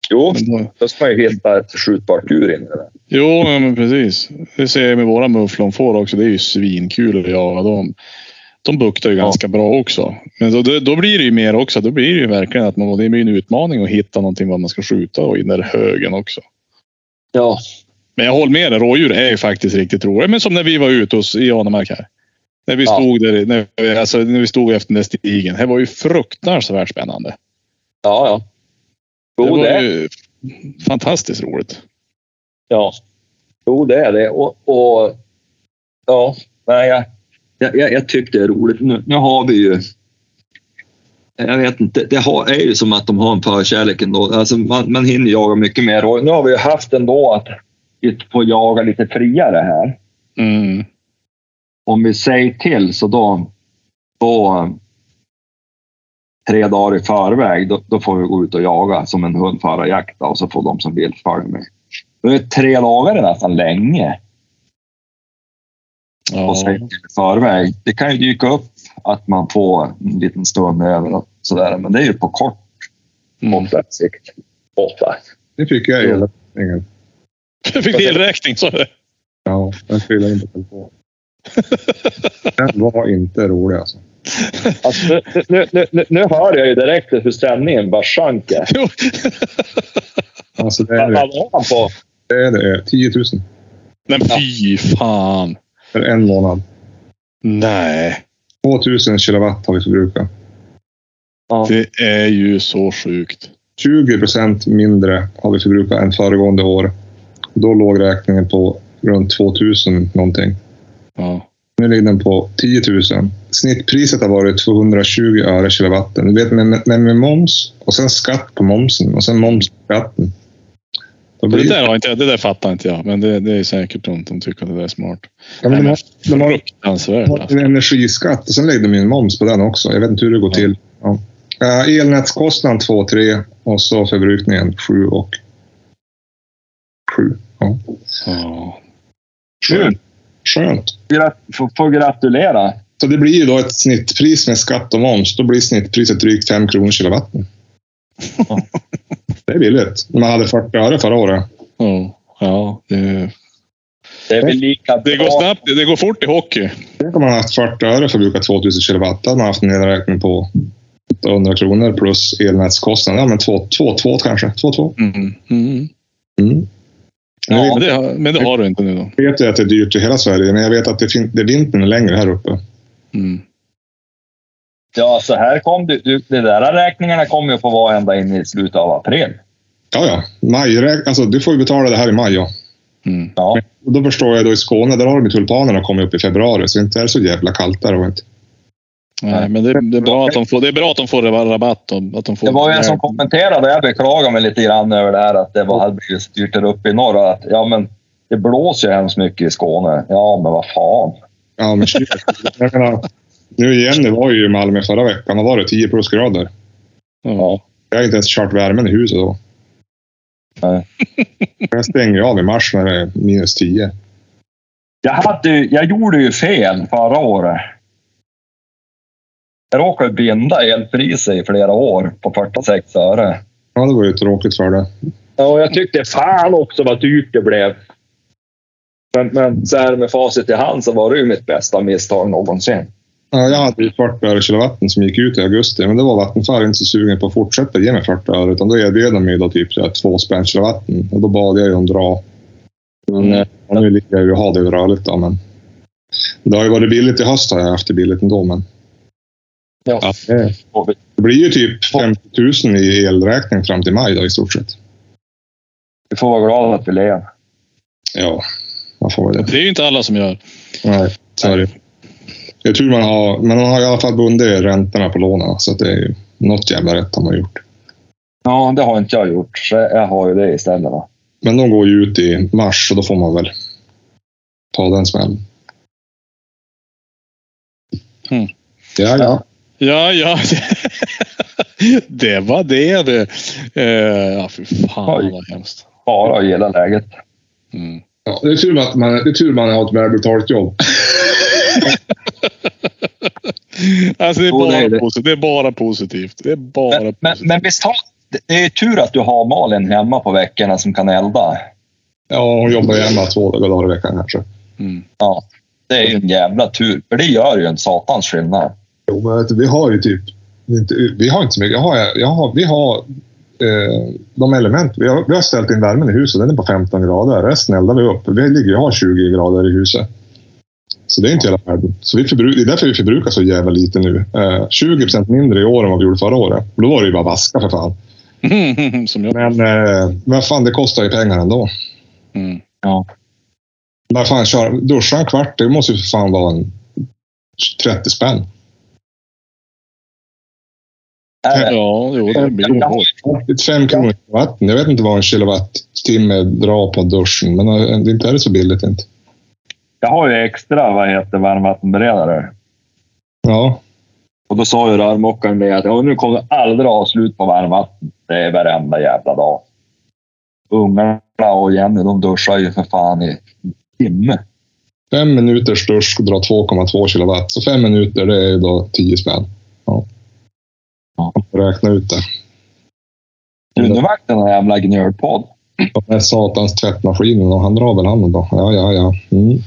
[SPEAKER 1] jo,
[SPEAKER 3] Men då,
[SPEAKER 1] då ska man ju hitta ett skjutbart djur in i det.
[SPEAKER 3] jo, ja, men precis. Det ser jag med våra mufflonfår också. Det är ju svinkul att jaga dem. De buktar ju
[SPEAKER 1] Ja.
[SPEAKER 3] ganska bra också. Men då, då, då blir det ju mer också. Då blir det ju verkligen att man, det blir en utmaning att hitta någonting vad man ska skjuta och i den där högen också.
[SPEAKER 1] Ja,
[SPEAKER 3] Men jag håller med dig. Rådjur är ju faktiskt riktigt roliga. Men som när vi var ute hos, i Anemark här. När vi,
[SPEAKER 1] Ja.
[SPEAKER 3] stod där, när, vi- alltså, när vi stod efter den där stigen. Det var ju fruktansvärt spännande.
[SPEAKER 1] ja, ja. Jo,
[SPEAKER 3] det var
[SPEAKER 1] det är-
[SPEAKER 3] ju fantastiskt roligt.
[SPEAKER 1] Ja. Jo, det är det. Och, och ja, nej, jag, jag- jag, jag tycker det är roligt. Nu, nu har vi ju... Jag vet inte. Det har, är ju som att de har en förkärlek ändå. Alltså man, man hinner jaga mycket mer. Och nu har vi ju haft ändå att vi får jaga lite friare här.
[SPEAKER 3] Mm.
[SPEAKER 1] Om vi säger till så då... då tre dagar i förväg, då, då får vi gå ut och jaga som en hund föra jakt då, och så får de som vill följa med. Då är tre dagar är nästan länge.
[SPEAKER 3] Ja.
[SPEAKER 1] och säger till i förväg. Det kan ju dyka upp att man får en liten stund över och sådär, men det är ju på kort
[SPEAKER 3] Mm.
[SPEAKER 1] sikt. Ofta.
[SPEAKER 2] Det fick jag i elräkningen.
[SPEAKER 3] Jag fick delräkning sa du.
[SPEAKER 2] Ja, den spelade inte på. Den var inte rolig alltså.
[SPEAKER 1] Alltså, nu, nu, nu, nu, nu hör jag ju direkt hur stämningen bara sjönk. här.
[SPEAKER 3] Jo.
[SPEAKER 2] Alltså det är
[SPEAKER 1] Vad
[SPEAKER 2] det.
[SPEAKER 1] var han på?
[SPEAKER 2] det, är det. 10 000
[SPEAKER 3] Men fy fan.
[SPEAKER 2] för en månad.
[SPEAKER 3] Nej.
[SPEAKER 2] 2 000 kilowatt har vi förbrukat.
[SPEAKER 3] Det är ju så sjukt.
[SPEAKER 2] 20 procent mindre har vi förbrukat än föregående år. Då låg räkningen på runt 2000 någonting.
[SPEAKER 3] Ja.
[SPEAKER 2] Nu ligger den på 10 000. Snittpriset har varit 220 öre kilowatten. Du vet, men, men med moms och sen skatt på momsen och sen moms på skatten. Då
[SPEAKER 3] Det,
[SPEAKER 2] blir,
[SPEAKER 3] där har inte, jag- det där fattar inte jag. Men det, det är säkert de som tycker att det där är smart.
[SPEAKER 2] ja, men de har, de har,
[SPEAKER 3] Fruktansvärt.
[SPEAKER 2] de har
[SPEAKER 3] Alltså.
[SPEAKER 2] en energiskatt och sen lägger de in moms på den också. Jag vet inte hur det går till. Ja. Eh, elnätskostnaden 2 3 och så förbrukningen 7 och 7. Ja.
[SPEAKER 3] Ja.
[SPEAKER 2] Skönt. Skönt.
[SPEAKER 1] Gratt- Får, får gratulera.
[SPEAKER 2] Så det blir ju då ett snittpris med skatt och moms. Då blir snittpriset drygt 5 kronor kilowatten.
[SPEAKER 1] Ja.
[SPEAKER 2] Det är billigt. Man hade 40 öre förra året.
[SPEAKER 3] Ja. ja. Det,
[SPEAKER 1] Det är väl lika bra.
[SPEAKER 3] det går snabbt. Det går fort i hockey.
[SPEAKER 2] Tänk om man haft 40 öre förbrukat 2000 kilowatt. Då hade man haft en nedräkning på 800 kronor plus elnätskostnaden. Ja, men 2-2 kanske. 2-2.
[SPEAKER 3] Mm. Mm.
[SPEAKER 2] Mm.
[SPEAKER 3] Ja, men, det, har- men det har du inte nu då.
[SPEAKER 2] Jag vet ju att det är dyrt i hela Sverige, men jag vet att det, fin- det vintern är längre här uppe.
[SPEAKER 3] Mm.
[SPEAKER 1] Ja, så här kom det. du- De där räkningarna kommer ju få vara ända in i slutet av april.
[SPEAKER 2] Ja, ja. Maj, rä- alltså, du får ju betala det här i maj. Ja.
[SPEAKER 3] Mm.
[SPEAKER 1] Ja,
[SPEAKER 2] Och då förstår jag då i Skåne, där har de ju tulpanerna kommit upp i februari, så inte är det så jävla kallt där. Och inte.
[SPEAKER 3] Nej, men det, det, är bra att de får, det är bra att de får rabatt. och Att de får
[SPEAKER 1] det var ju en som kommenterade. Jag beklagar mig lite grann över det här att det var, hade blivit så dyrt där uppe i norr. Att, ja, men det blåser ju hemskt mycket i Skåne. Ja, men vad fan.
[SPEAKER 2] Ja, men shit. jag menar, nu igen, det var ju i Malmö förra veckan. Vad var det? 10 plusgrader.
[SPEAKER 3] Ja.
[SPEAKER 2] Jag har inte ens kört värmen i huset då.
[SPEAKER 1] Nej.
[SPEAKER 2] Jag stänger ju av i mars när det är minus 10.
[SPEAKER 1] Jag, hade, ju- jag gjorde ju fel förra året. Jag råkade binda elpriser i flera år på 46 öre.
[SPEAKER 2] Ja, det var ju tråkigt för det.
[SPEAKER 1] Ja, och jag tyckte fan också vad dyrt det blev. Men, men så här med facit i hand så var det ju mitt bästa misstag någonsin.
[SPEAKER 2] Ja, jag hade ju 40 öre kilowatten som gick ut i augusti, men det var Vattenfall inte så sugen på att fortsätta ge mig 40 öre, utan då erbjöd de mig då typ så här två spänn kilowatten och då bad jag ju om dra. Men
[SPEAKER 1] Mm.
[SPEAKER 2] eh, ja, nu ligger jag ju och har det rörligt då, men det har ju varit billigt i höst har jag haft det billigt ändå, men
[SPEAKER 1] Ja.
[SPEAKER 2] det blir ju typ 50 000 i elräkning fram till maj då i stort sett.
[SPEAKER 1] Vi får vara glada att vi lever.
[SPEAKER 2] Ja, man får väl det.
[SPEAKER 3] Det är ju inte alla som gör.
[SPEAKER 2] Nej, så är det. Det är tur man har, men man har i alla fall bundit räntorna på lånen. Så att det är ju, något jävla rätt har man gjort.
[SPEAKER 1] Ja, det har inte jag gjort. Så jag har ju det istället. Va?
[SPEAKER 2] Men de går ju ut i mars och då får man väl ta den smällen.
[SPEAKER 3] Mm.
[SPEAKER 2] Ja, ja.
[SPEAKER 3] Ja, ja. Det var det det. Eh, Ja, fy fan
[SPEAKER 1] Oj.
[SPEAKER 3] vad hemskt.
[SPEAKER 1] Bara gilla läget.
[SPEAKER 3] Mm.
[SPEAKER 2] ja det, är tur att man, det är tur man har ett välbetalt jobb.
[SPEAKER 3] Alltså det är,
[SPEAKER 1] Jo,
[SPEAKER 3] bara
[SPEAKER 1] nej, det-
[SPEAKER 3] Positivt. det är bara positivt. Det är bara
[SPEAKER 1] Men, men,
[SPEAKER 3] positivt.
[SPEAKER 1] men visst har... Det det är ju tur att du har Malin hemma på veckorna som kan elda.
[SPEAKER 2] Ja, hon jobbar ju hemma två dagar i veckan kanske.
[SPEAKER 3] Mm.
[SPEAKER 1] Ja, det är ju en jävla tur. För det gör ju en satans skillnad.
[SPEAKER 2] Jo, men vet du, vi har ju typ... Inte, vi har inte så mycket. Jag har, jag har, vi har eh, de element... Vi har, vi har ställt in värmen i huset. Den är på 15 grader. Resten eldar vi upp. Vi ligger ju och har 20 grader i huset. Så det är inte hela världen. Så vi förbruk, det är därför vi förbrukar så jävla lite nu. Eh, 20 mindre i år än vad vi gjorde förra året. Och Då var det ju bara vaska för fan.
[SPEAKER 3] Mm. Som jag.
[SPEAKER 2] Men eh, vad fan, det kostar ju pengar ändå.
[SPEAKER 3] Mm.
[SPEAKER 1] Ja.
[SPEAKER 2] Vad fan, kör, duscha en kvart, det måste ju för fan vara en 30 spänn.
[SPEAKER 1] Är det?
[SPEAKER 3] Ja, jo,
[SPEAKER 1] eh,
[SPEAKER 3] det blir ju hårt.
[SPEAKER 2] Ett fem kronor per vatten. Jag vet inte vad en kilowattimme drar på duschen, men eh, det är inte är det så billigt inte.
[SPEAKER 1] Jag har ju extra vad heter, varmvattenberedare.
[SPEAKER 2] Ja,
[SPEAKER 1] Och då sa ju rörmokaren det att "Ja, nu kommer det aldrig att ha slut på varmvatten. Det är varenda jävla dag. Ungarna och Jenny de duschar ju för fan i timme.
[SPEAKER 2] fem minuters dusch drar 2,2 kilowatt. Så fem minuter, det är ju då 10 spänn. Ja.
[SPEAKER 1] Ja.
[SPEAKER 2] Räkna ut det.
[SPEAKER 1] Du,
[SPEAKER 3] Mm.
[SPEAKER 1] nu vart det en jävla gnölpodd.
[SPEAKER 2] Och Den här satans tvättmaskinen, och han drar väl han då? Ja, ja, ja. Mm.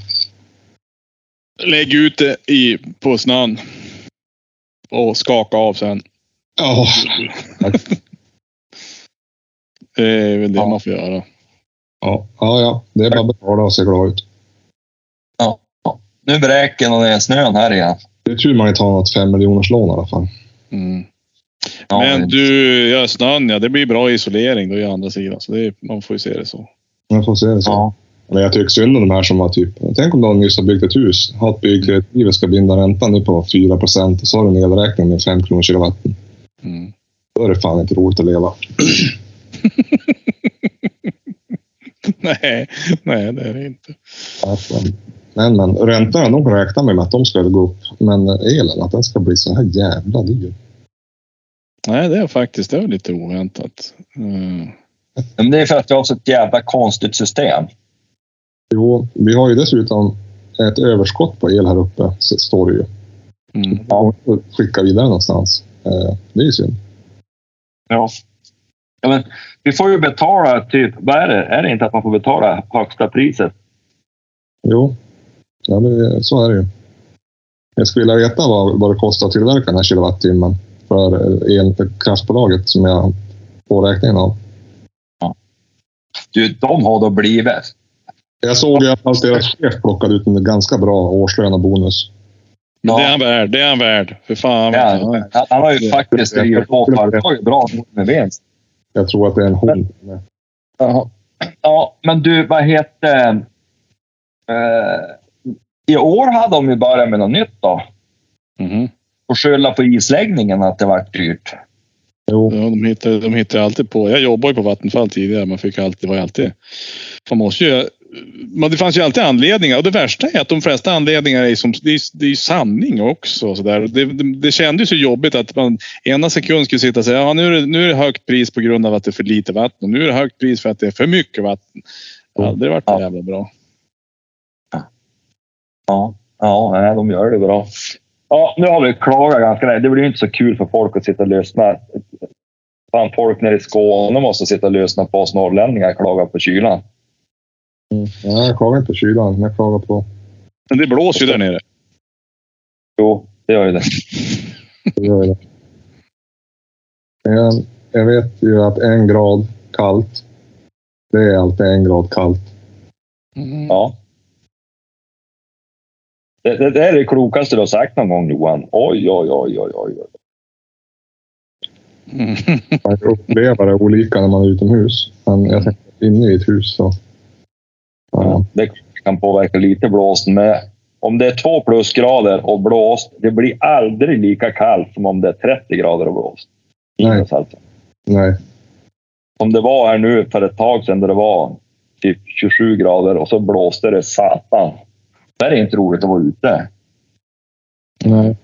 [SPEAKER 3] Lägg ut det i, på snön. Och skaka av sen.
[SPEAKER 2] Ja,
[SPEAKER 3] Det är väl det
[SPEAKER 1] Ja.
[SPEAKER 3] man får göra.
[SPEAKER 2] ja, ja, ja. Det är bara att betala och se glad ut.
[SPEAKER 1] Nu vräker någon ner snön här igen.
[SPEAKER 2] Det är tur man inte har något fem miljoners lån i alla fall.
[SPEAKER 3] Mm.
[SPEAKER 1] Ja,
[SPEAKER 3] Men du, ja, snön ja, det blir bra isolering då i andra sidan. Så det, är- man får ju se det så.
[SPEAKER 2] Man får se det så.
[SPEAKER 1] Ja.
[SPEAKER 2] Men jag tycker synd om de här som har typ... Tänk om någon nyss har byggt ett hus, har ett byggkreditiv och ska binda räntan nu på 4 och så har du en elräkning med 5 kronor kilowatten.
[SPEAKER 3] Mm.
[SPEAKER 2] Då är det fan inte roligt att leva.
[SPEAKER 3] Nej, nej, det är det inte.
[SPEAKER 2] Men, men räntorna, de kan räkna med att de ska gå upp. Men elen, att den ska bli så här jävla dyr.
[SPEAKER 3] Nej, det är faktiskt det var lite oväntat. Mm.
[SPEAKER 1] Men det är för att vi har så ett jävla konstigt system.
[SPEAKER 2] Jo, vi har ju dessutom ett överskott på el här uppe, så står det ju.
[SPEAKER 3] Mm.
[SPEAKER 2] Ja. Och skickar vidare någonstans. Eh, Det är ju synd.
[SPEAKER 1] Ja. ja men, vi får ju betala typ, vad är det? Är det inte att man får betala högsta priset?
[SPEAKER 2] Jo, ja, det, så är det ju. Jag skulle vilja veta vad, vad det kostar att tillverka den här kilowattimmen för eh, el för kraftbolaget som jag får räkningen av.
[SPEAKER 1] Du, de har då blivit.
[SPEAKER 2] Jag såg ju att deras chef plockade ut en ganska bra årslön och bonus.
[SPEAKER 3] Men Det är
[SPEAKER 1] Ja.
[SPEAKER 3] han värd. Det är han värd. För fan.
[SPEAKER 1] Ja,
[SPEAKER 3] vad fan.
[SPEAKER 1] han, han har ju faktiskt drivit på företaget bra med vinst.
[SPEAKER 2] Jag tror att det är en hon.
[SPEAKER 1] Ja, men du, vad heter... Eh, I år hade de ju börjat med något nytt då.
[SPEAKER 3] Mhm.
[SPEAKER 1] Och skylla på isläggningen att det vart dyrt.
[SPEAKER 2] Jo,
[SPEAKER 3] Ja, de hittar, de hittar alltid på. Jag jobbade ju på Vattenfall tidigare. Man fick alltid, var ju alltid. Man måste ju, men det fanns ju alltid anledningar. Och det värsta är att de flesta anledningar är som, det är, det är sanning också. och Så där. Och Det, det, det kändes ju jobbigt att man ena sekund skulle sitta och säga ja, nu, är det, nu är det högt pris på grund av att det är för lite vatten. Och nu är det högt pris för att det är för mycket vatten. Det har aldrig varit så
[SPEAKER 1] Ja.
[SPEAKER 3] jävla bra.
[SPEAKER 1] Ja, ja nej, de gör det bra. Ja, nu har vi klagat ganska länge. Det blir ju inte så kul för folk att sitta och lyssna. Fan, folk nere i Skåne måste sitta och lyssna på oss norrlänningar klaga på kylan.
[SPEAKER 2] nej, jag klagar inte på kylan, men jag klagar på...
[SPEAKER 3] Men det blåser ju där nere.
[SPEAKER 1] Jo, det gör ju det.
[SPEAKER 2] det gör jag. Men jag vet ju att en grad kallt, det är alltid en grad kallt. Mm.
[SPEAKER 3] Mm.
[SPEAKER 1] Ja. Det, det, det är det klokaste du har sagt någon gång Johan. Oj, oj, oj, oj, oj. oj.
[SPEAKER 3] Mm.
[SPEAKER 2] Man upplever det olika när man är utomhus. Men jag tänker inne i ett hus så... Ja.
[SPEAKER 1] Ja, det kan påverka lite blåsten med. Om det är två plusgrader och blåst, det blir aldrig lika kallt som om det är 30 grader och blåst.
[SPEAKER 2] Nej.
[SPEAKER 1] Minus alltså.
[SPEAKER 2] Nej.
[SPEAKER 1] Som det var här nu för ett tag sedan där det var typ 27 grader och så blåste det satan. Där är det inte roligt att vara ute.
[SPEAKER 2] Nej.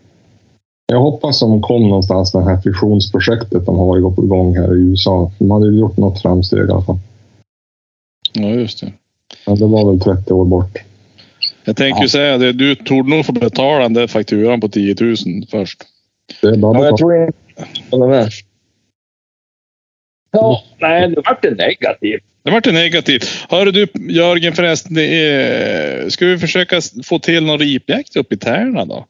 [SPEAKER 2] Jag hoppas de kom någonstans med det här fusionsprojektet de har igång- igång här i USA. De hade ju gjort något framsteg i alla fall.
[SPEAKER 3] Ja, just det.
[SPEAKER 2] Men det var väl 30 år bort.
[SPEAKER 3] Jag tänker ju säga det. Du torde nog få betala den där fakturan på 10 000 först.
[SPEAKER 2] Det är bara
[SPEAKER 1] Ja, jag
[SPEAKER 2] betalt.
[SPEAKER 1] tror inte... Håller med. Ja, nej, det vart negativt.
[SPEAKER 3] Det vart det negativt. Hör du Jörgen förresten, det är... ska vi försöka s- få till någon ripjakt uppe i Tärna då?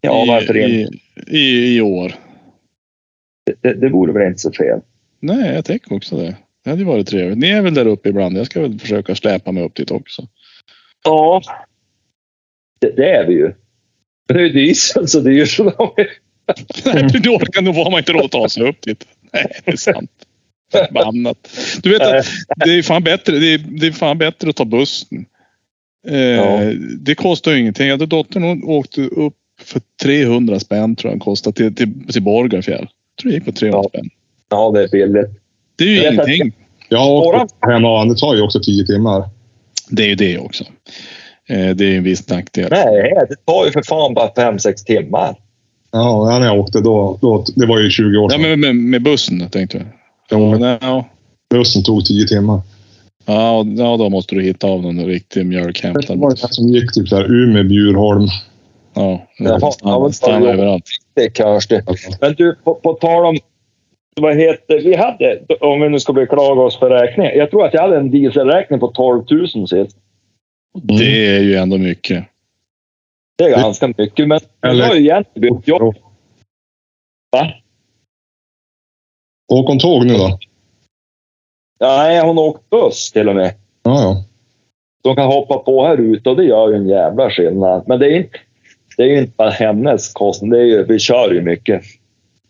[SPEAKER 1] Ja, varför
[SPEAKER 3] I,
[SPEAKER 1] inte?
[SPEAKER 3] i, i, I år.
[SPEAKER 1] Det, det vore väl inte så fel.
[SPEAKER 3] Nej, jag tänker också det. Det hade ju varit trevligt. Ni är väl där uppe ibland? Jag ska väl försöka släpa mig upp dit också.
[SPEAKER 1] Ja. Det, det är vi ju. Men det är ju diesel så dyr så de är Mm.
[SPEAKER 3] Nej, du orkar nog har man inte råd att ta sig upp dit. Nej, det är sant. Förbannat. Du vet att det är fan bättre, det är, det är fan bättre att ta bussen. Eh,
[SPEAKER 1] Ja.
[SPEAKER 3] Det kostar ju ingenting. Jag hade dottern hon åkte upp för 300 spänn tror jag den kostade till, till, till Borgarfjäll. Jag tror det gick på 300
[SPEAKER 1] Ja.
[SPEAKER 3] spänn.
[SPEAKER 1] Ja, det är billigt.
[SPEAKER 3] Det är ju
[SPEAKER 1] Jag vet att-
[SPEAKER 3] ingenting.
[SPEAKER 2] Jag har
[SPEAKER 1] Våra-
[SPEAKER 2] åkt hem och det tar ju också 10 timmar.
[SPEAKER 3] Det är ju det också. Eh, det är ju en viss nackdel.
[SPEAKER 1] Nej, det tar ju för fan bara 5-6 timmar.
[SPEAKER 2] Ja, när jag åkte då, då det var ju 20 år
[SPEAKER 3] Ja,
[SPEAKER 2] sedan.
[SPEAKER 3] men med, med bussen tänkte jag.
[SPEAKER 2] Ja, men...
[SPEAKER 3] Men, ja.
[SPEAKER 2] Bussen tog 10 timmar.
[SPEAKER 3] Ja, och- ja, då måste du hitta av någon riktig
[SPEAKER 2] Det var
[SPEAKER 3] mjölkhämtare.
[SPEAKER 2] det här som gick typ där Umeå, Bjurholm.
[SPEAKER 3] Ja,
[SPEAKER 1] Jaha,
[SPEAKER 3] ja,
[SPEAKER 1] ja,
[SPEAKER 3] stanna,
[SPEAKER 1] men-
[SPEAKER 3] stanna överallt.
[SPEAKER 1] Det är kanske. Men du, på, på tal om... Vad heter... Vi hade, om vi nu ska beklaga oss för räkningar. Jag tror att jag hade en dieselräkning på 12 000 sist.
[SPEAKER 2] Mm.
[SPEAKER 3] Det är ju ändå mycket.
[SPEAKER 1] Det är ganska mycket, men
[SPEAKER 2] Eller-
[SPEAKER 1] jag har ju egentligen bytt jobb. Va?
[SPEAKER 2] Åk om tåg nu då.
[SPEAKER 1] Nej, hon har åkt buss till och med.
[SPEAKER 2] Ja, ja.
[SPEAKER 1] De kan hoppa på här ute och det gör ju en jävla skillnad. Men det är, inte, det är ju inte bara hennes kostnad. Det är ju, vi kör ju mycket.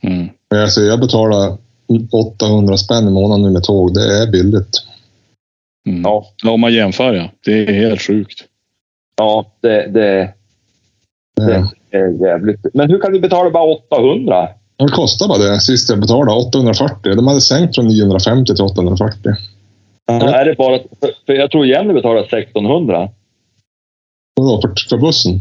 [SPEAKER 3] Mm.
[SPEAKER 2] Men jag, säger, alltså, jag betalar 800 spänn i månaden nu med tåg. Det är billigt.
[SPEAKER 3] Mm. Ja.
[SPEAKER 1] Ja,
[SPEAKER 3] om man jämför ja. Det är helt sjukt.
[SPEAKER 1] ja det, det
[SPEAKER 2] Det,
[SPEAKER 1] Det- är jävligt. Men hur kan du betala bara 800?
[SPEAKER 2] det kostar bara det sist jag betalade. 840. De hade sänkt från 950 till 840.
[SPEAKER 1] Är det bara, för- för jag tror Jenny betalar 1600.
[SPEAKER 2] Vadå, för, för bussen?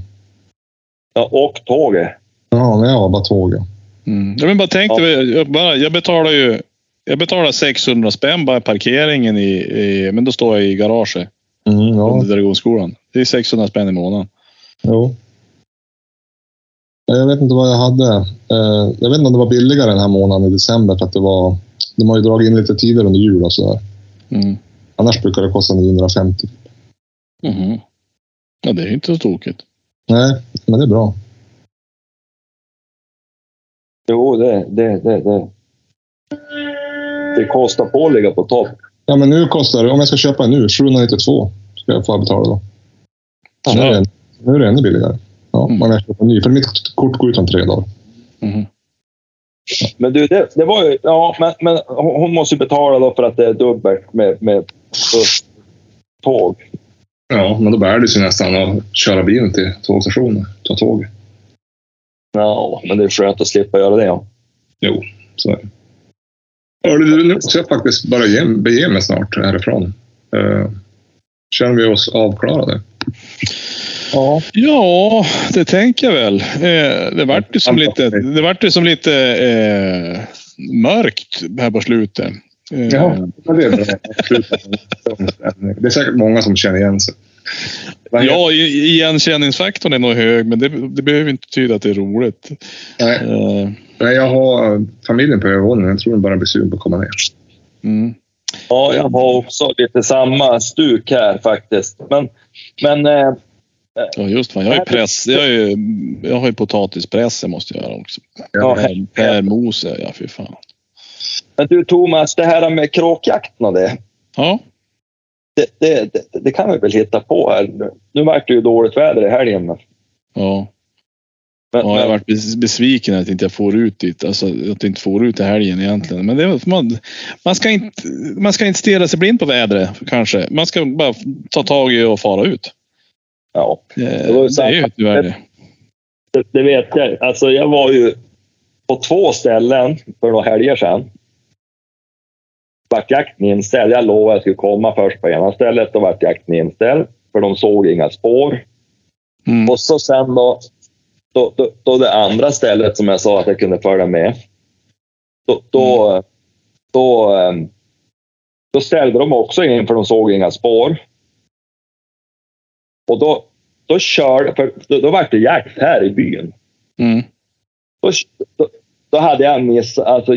[SPEAKER 1] Ja, och tåget.
[SPEAKER 2] Ja, men jag var bara tågen.
[SPEAKER 3] Mm. Jag men bara tänk
[SPEAKER 1] Ja.
[SPEAKER 3] dig, jag, bara, jag betalar ju jag betalar 600 spänn bara i parkeringen. I, i, men då står jag i garaget
[SPEAKER 2] Mm,
[SPEAKER 3] under
[SPEAKER 2] ja,
[SPEAKER 3] Dragonskolan. Det är 600 spänn i månaden.
[SPEAKER 2] jo. Ja, Jag vet inte vad jag hade. Eh, Jag vet inte om det var billigare den här månaden i december för att det var... De har ju dragit in lite tider under jul och sådär.
[SPEAKER 3] Mm.
[SPEAKER 2] Annars brukar det kosta 950.
[SPEAKER 3] Mhm. Ja, det är ju inte så tokigt.
[SPEAKER 2] Nej, men det är bra.
[SPEAKER 1] Jo, det, det, det, det. Det kostar på att ligga på topp.
[SPEAKER 2] Ja, men nu kostar det, om jag ska köpa en nu, 792 ska jag få betala då. Nu är det, nu är det ännu billigare. Ja,
[SPEAKER 3] Mm.
[SPEAKER 2] man kan köpa en ny, för mitt kort går ut om tre dagar.
[SPEAKER 3] Mhm.
[SPEAKER 1] Men du, det, det var ju... Ja, men, men hon hon måste ju betala då för att det är dubbelt med, med buss, tåg.
[SPEAKER 2] Ja, men då bär det sig nästan att köra bilen till tågstationen. Ta tåg.
[SPEAKER 1] Ja, men det är skönt att slippa göra det. Ja.
[SPEAKER 2] Jo, så är det. Hörru, du, nu ska jag faktiskt bara ge, bege mig snart härifrån. Eh, känner vi oss avklarade?
[SPEAKER 1] ja.
[SPEAKER 3] Ja, det tänker jag väl. Eh, det vart ju som lite, det vart ju som lite eh, mörkt här på slutet. Eh,
[SPEAKER 2] det är bra. Det är säkert många som känner igen sig. Vad heter-
[SPEAKER 3] ja, i- igenkänningsfaktorn är nog hög, men det, det behöver inte betyda att det är roligt.
[SPEAKER 2] Nej,
[SPEAKER 3] Eh,
[SPEAKER 2] nej, jag har eh, familjen på övervåningen. Jag tror de bara blir sugna på att komma ner.
[SPEAKER 3] mm.
[SPEAKER 1] ja, jag har också lite samma stuk här faktiskt. Men, men eh,
[SPEAKER 3] Ja, just fan. Jag har ju press. Jag, har ju, jag har ju potatispress jag måste göra också.
[SPEAKER 1] Ja.
[SPEAKER 3] Per, per Mose, ja fy fan.
[SPEAKER 1] Men du Thomas, det här med kråkjakten och det.
[SPEAKER 3] Ja,
[SPEAKER 1] Det, det, det, det kan vi väl hitta på här. nu. Nu vart det ju dåligt väder i helgen. Men,
[SPEAKER 3] ja.
[SPEAKER 1] men,
[SPEAKER 3] ja jag har
[SPEAKER 1] men,
[SPEAKER 3] varit bes- besviken att inte jag får ut dit. Alltså att jag inte får ut i helgen egentligen. Men det, är väl- man, man, ska inte, man ska inte stirra sig blind på vädret kanske. Man ska bara ta tag i och fara ut.
[SPEAKER 1] Ja.
[SPEAKER 3] Eh,
[SPEAKER 1] Det var ju
[SPEAKER 3] det är ju
[SPEAKER 1] samma-
[SPEAKER 3] tyvärr det.
[SPEAKER 1] Det, det vet jag. Alltså, jag var ju på två ställen för några helger sedan. Vart jakten inställd. Jag lovade att jag skulle komma först på ena stället. Då vart jakten inställd. För de såg inga spår.
[SPEAKER 3] Mm.
[SPEAKER 1] Och så sen då, då, då, då det andra stället som jag sa att jag kunde följa med. Då, då, då, ehm, då ställde de också in för de såg inga spår. Och då, då körde, för då, då var det jakt här i byn.
[SPEAKER 3] Mm.
[SPEAKER 1] Då, då, då hade jag missat, alltså,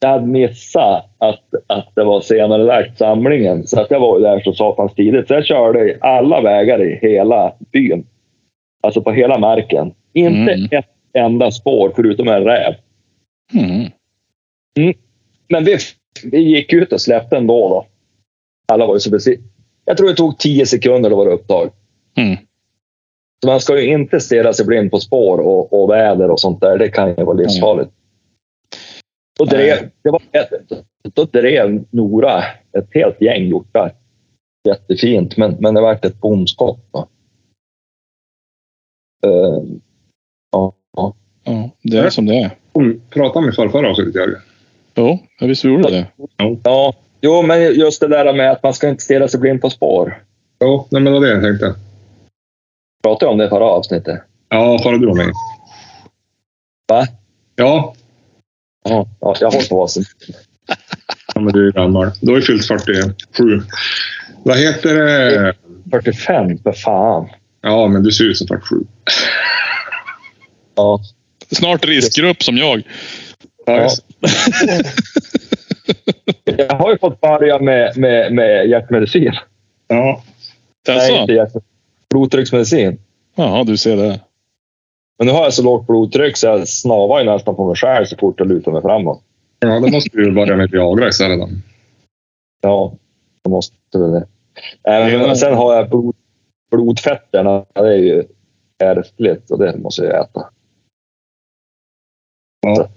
[SPEAKER 1] jag hade missat att, att det var senare lagt samlingen. Så att jag var ju där så satans tidigt. Så jag körde i alla vägar i hela byn. Alltså på hela marken. Inte
[SPEAKER 3] Mm.
[SPEAKER 1] ett enda spår förutom en räv.
[SPEAKER 3] Mm.
[SPEAKER 1] Men vi, vi gick ut och släppte ändå. Då. Alla var ju så besvikna. Jag tror det tog 10 sekunder då var det upptag.
[SPEAKER 3] Mm.
[SPEAKER 1] Så man ska ju inte stirra sig blind på spår och, och väder och sånt där. Det kan ju vara livsfarligt. Då drev, det var ett, då drev Nora ett helt gäng hjortar. Jättefint, men, men det vart ett bomskott. Då. Eh,
[SPEAKER 3] Ja, det är som det är.
[SPEAKER 2] Om- Prata med förrförra avsnittet, Jörgen.
[SPEAKER 3] Jo, ja, visst gjorde det
[SPEAKER 1] ja, jo, men just det där med att man ska inte stirra sig blind på spår.
[SPEAKER 2] Ja, nej, men det var det jag tänkte.
[SPEAKER 1] Pratade jag om det i förra avsnittet?
[SPEAKER 2] Ja, förra du var med.
[SPEAKER 1] Va?
[SPEAKER 2] Ja,
[SPEAKER 1] Ja, ja, jag håller på vad som...
[SPEAKER 2] ja, men du är gammal. Du har ju fyllt 47. Vad heter det?
[SPEAKER 1] 45, för fan.
[SPEAKER 2] Ja, men du ser ut som 47.
[SPEAKER 1] Ja.
[SPEAKER 3] Snart riskgrupp som jag.
[SPEAKER 1] Ja.
[SPEAKER 2] just-
[SPEAKER 1] Jag har ju fått börja med, med, med hjärtmedicin.
[SPEAKER 2] ja.
[SPEAKER 1] Nej,
[SPEAKER 3] Alltså.
[SPEAKER 1] inte hjärtmedicin. Blodtrycksmedicin.
[SPEAKER 3] Jaha, du ser det.
[SPEAKER 1] Men nu har jag så lågt blodtryck så jag snavar ju nästan på mig själv så fort jag lutar mig framåt.
[SPEAKER 2] ja, då måste du börja med Viagra istället. då.
[SPEAKER 1] Ja, då måste väl det. Äh,
[SPEAKER 3] Ja.
[SPEAKER 1] men sen har jag blod, blodfetterna. Det är ju ärftligt och det måste jag äta.
[SPEAKER 2] Ja.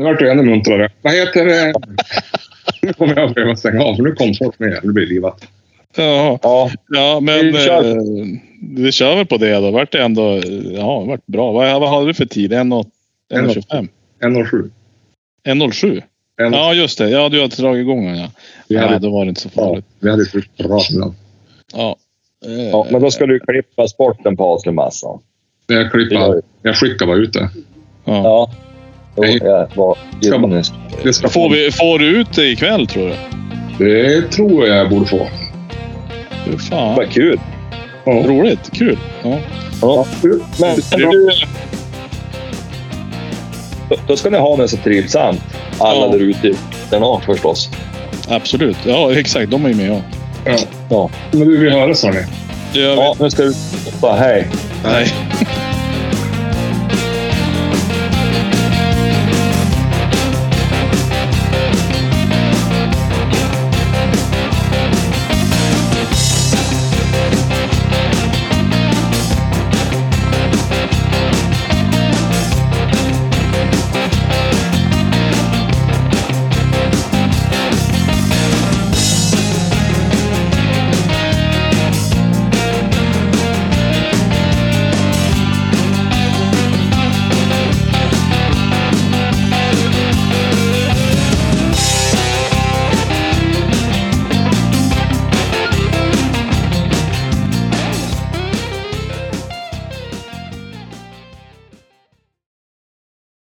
[SPEAKER 2] Nu vart du ännu muntrare. Vad heter det? Nu kommer jag att behöva stänga av, för nu kom folk med. Nu blir det livat.
[SPEAKER 3] Jaha.
[SPEAKER 1] Ja,
[SPEAKER 3] Ja, men
[SPEAKER 1] Vi kör.
[SPEAKER 3] eh, vi kör väl på det då. Vart det ändå eh, ja, vart bra. Vad, vad hade du för tid? 1.25?
[SPEAKER 2] 1,07.
[SPEAKER 3] 1.07?
[SPEAKER 2] En-
[SPEAKER 3] Ja, just det. Ja, du hade dragit igång den, ja.
[SPEAKER 2] Vi hade-
[SPEAKER 3] Nej, då var det inte så
[SPEAKER 2] Ja,
[SPEAKER 3] farligt.
[SPEAKER 2] vi hade ett bra namn.
[SPEAKER 3] Ja. Eh,
[SPEAKER 1] ja, men då ska du klippa bort en paslig massa.
[SPEAKER 2] Jag, klipper, jag skickar bara ut det.
[SPEAKER 3] ja.
[SPEAKER 1] Ja. Jo,
[SPEAKER 2] Nej.
[SPEAKER 1] jag var
[SPEAKER 2] Ska man-
[SPEAKER 1] ironisk.
[SPEAKER 2] det ska
[SPEAKER 3] Får, vi, får du ut det ikväll tror du?
[SPEAKER 2] Det tror jag jag borde få.
[SPEAKER 3] Fy fan.
[SPEAKER 1] Vad kul.
[SPEAKER 2] Ja.
[SPEAKER 3] Roligt. Kul. Ja.
[SPEAKER 1] Ja. Men du, då- då ska ni ha det så trivsamt. Alla
[SPEAKER 3] Ja.
[SPEAKER 1] där ute. Den har förstås.
[SPEAKER 3] Absolut. Ja, exakt. De är ju med. Ja.
[SPEAKER 2] Ja.
[SPEAKER 1] Ja.
[SPEAKER 2] Men du, vi hörs hörni.
[SPEAKER 3] Det gör vi.
[SPEAKER 1] ja, nu ska du... Hej.
[SPEAKER 3] Nej.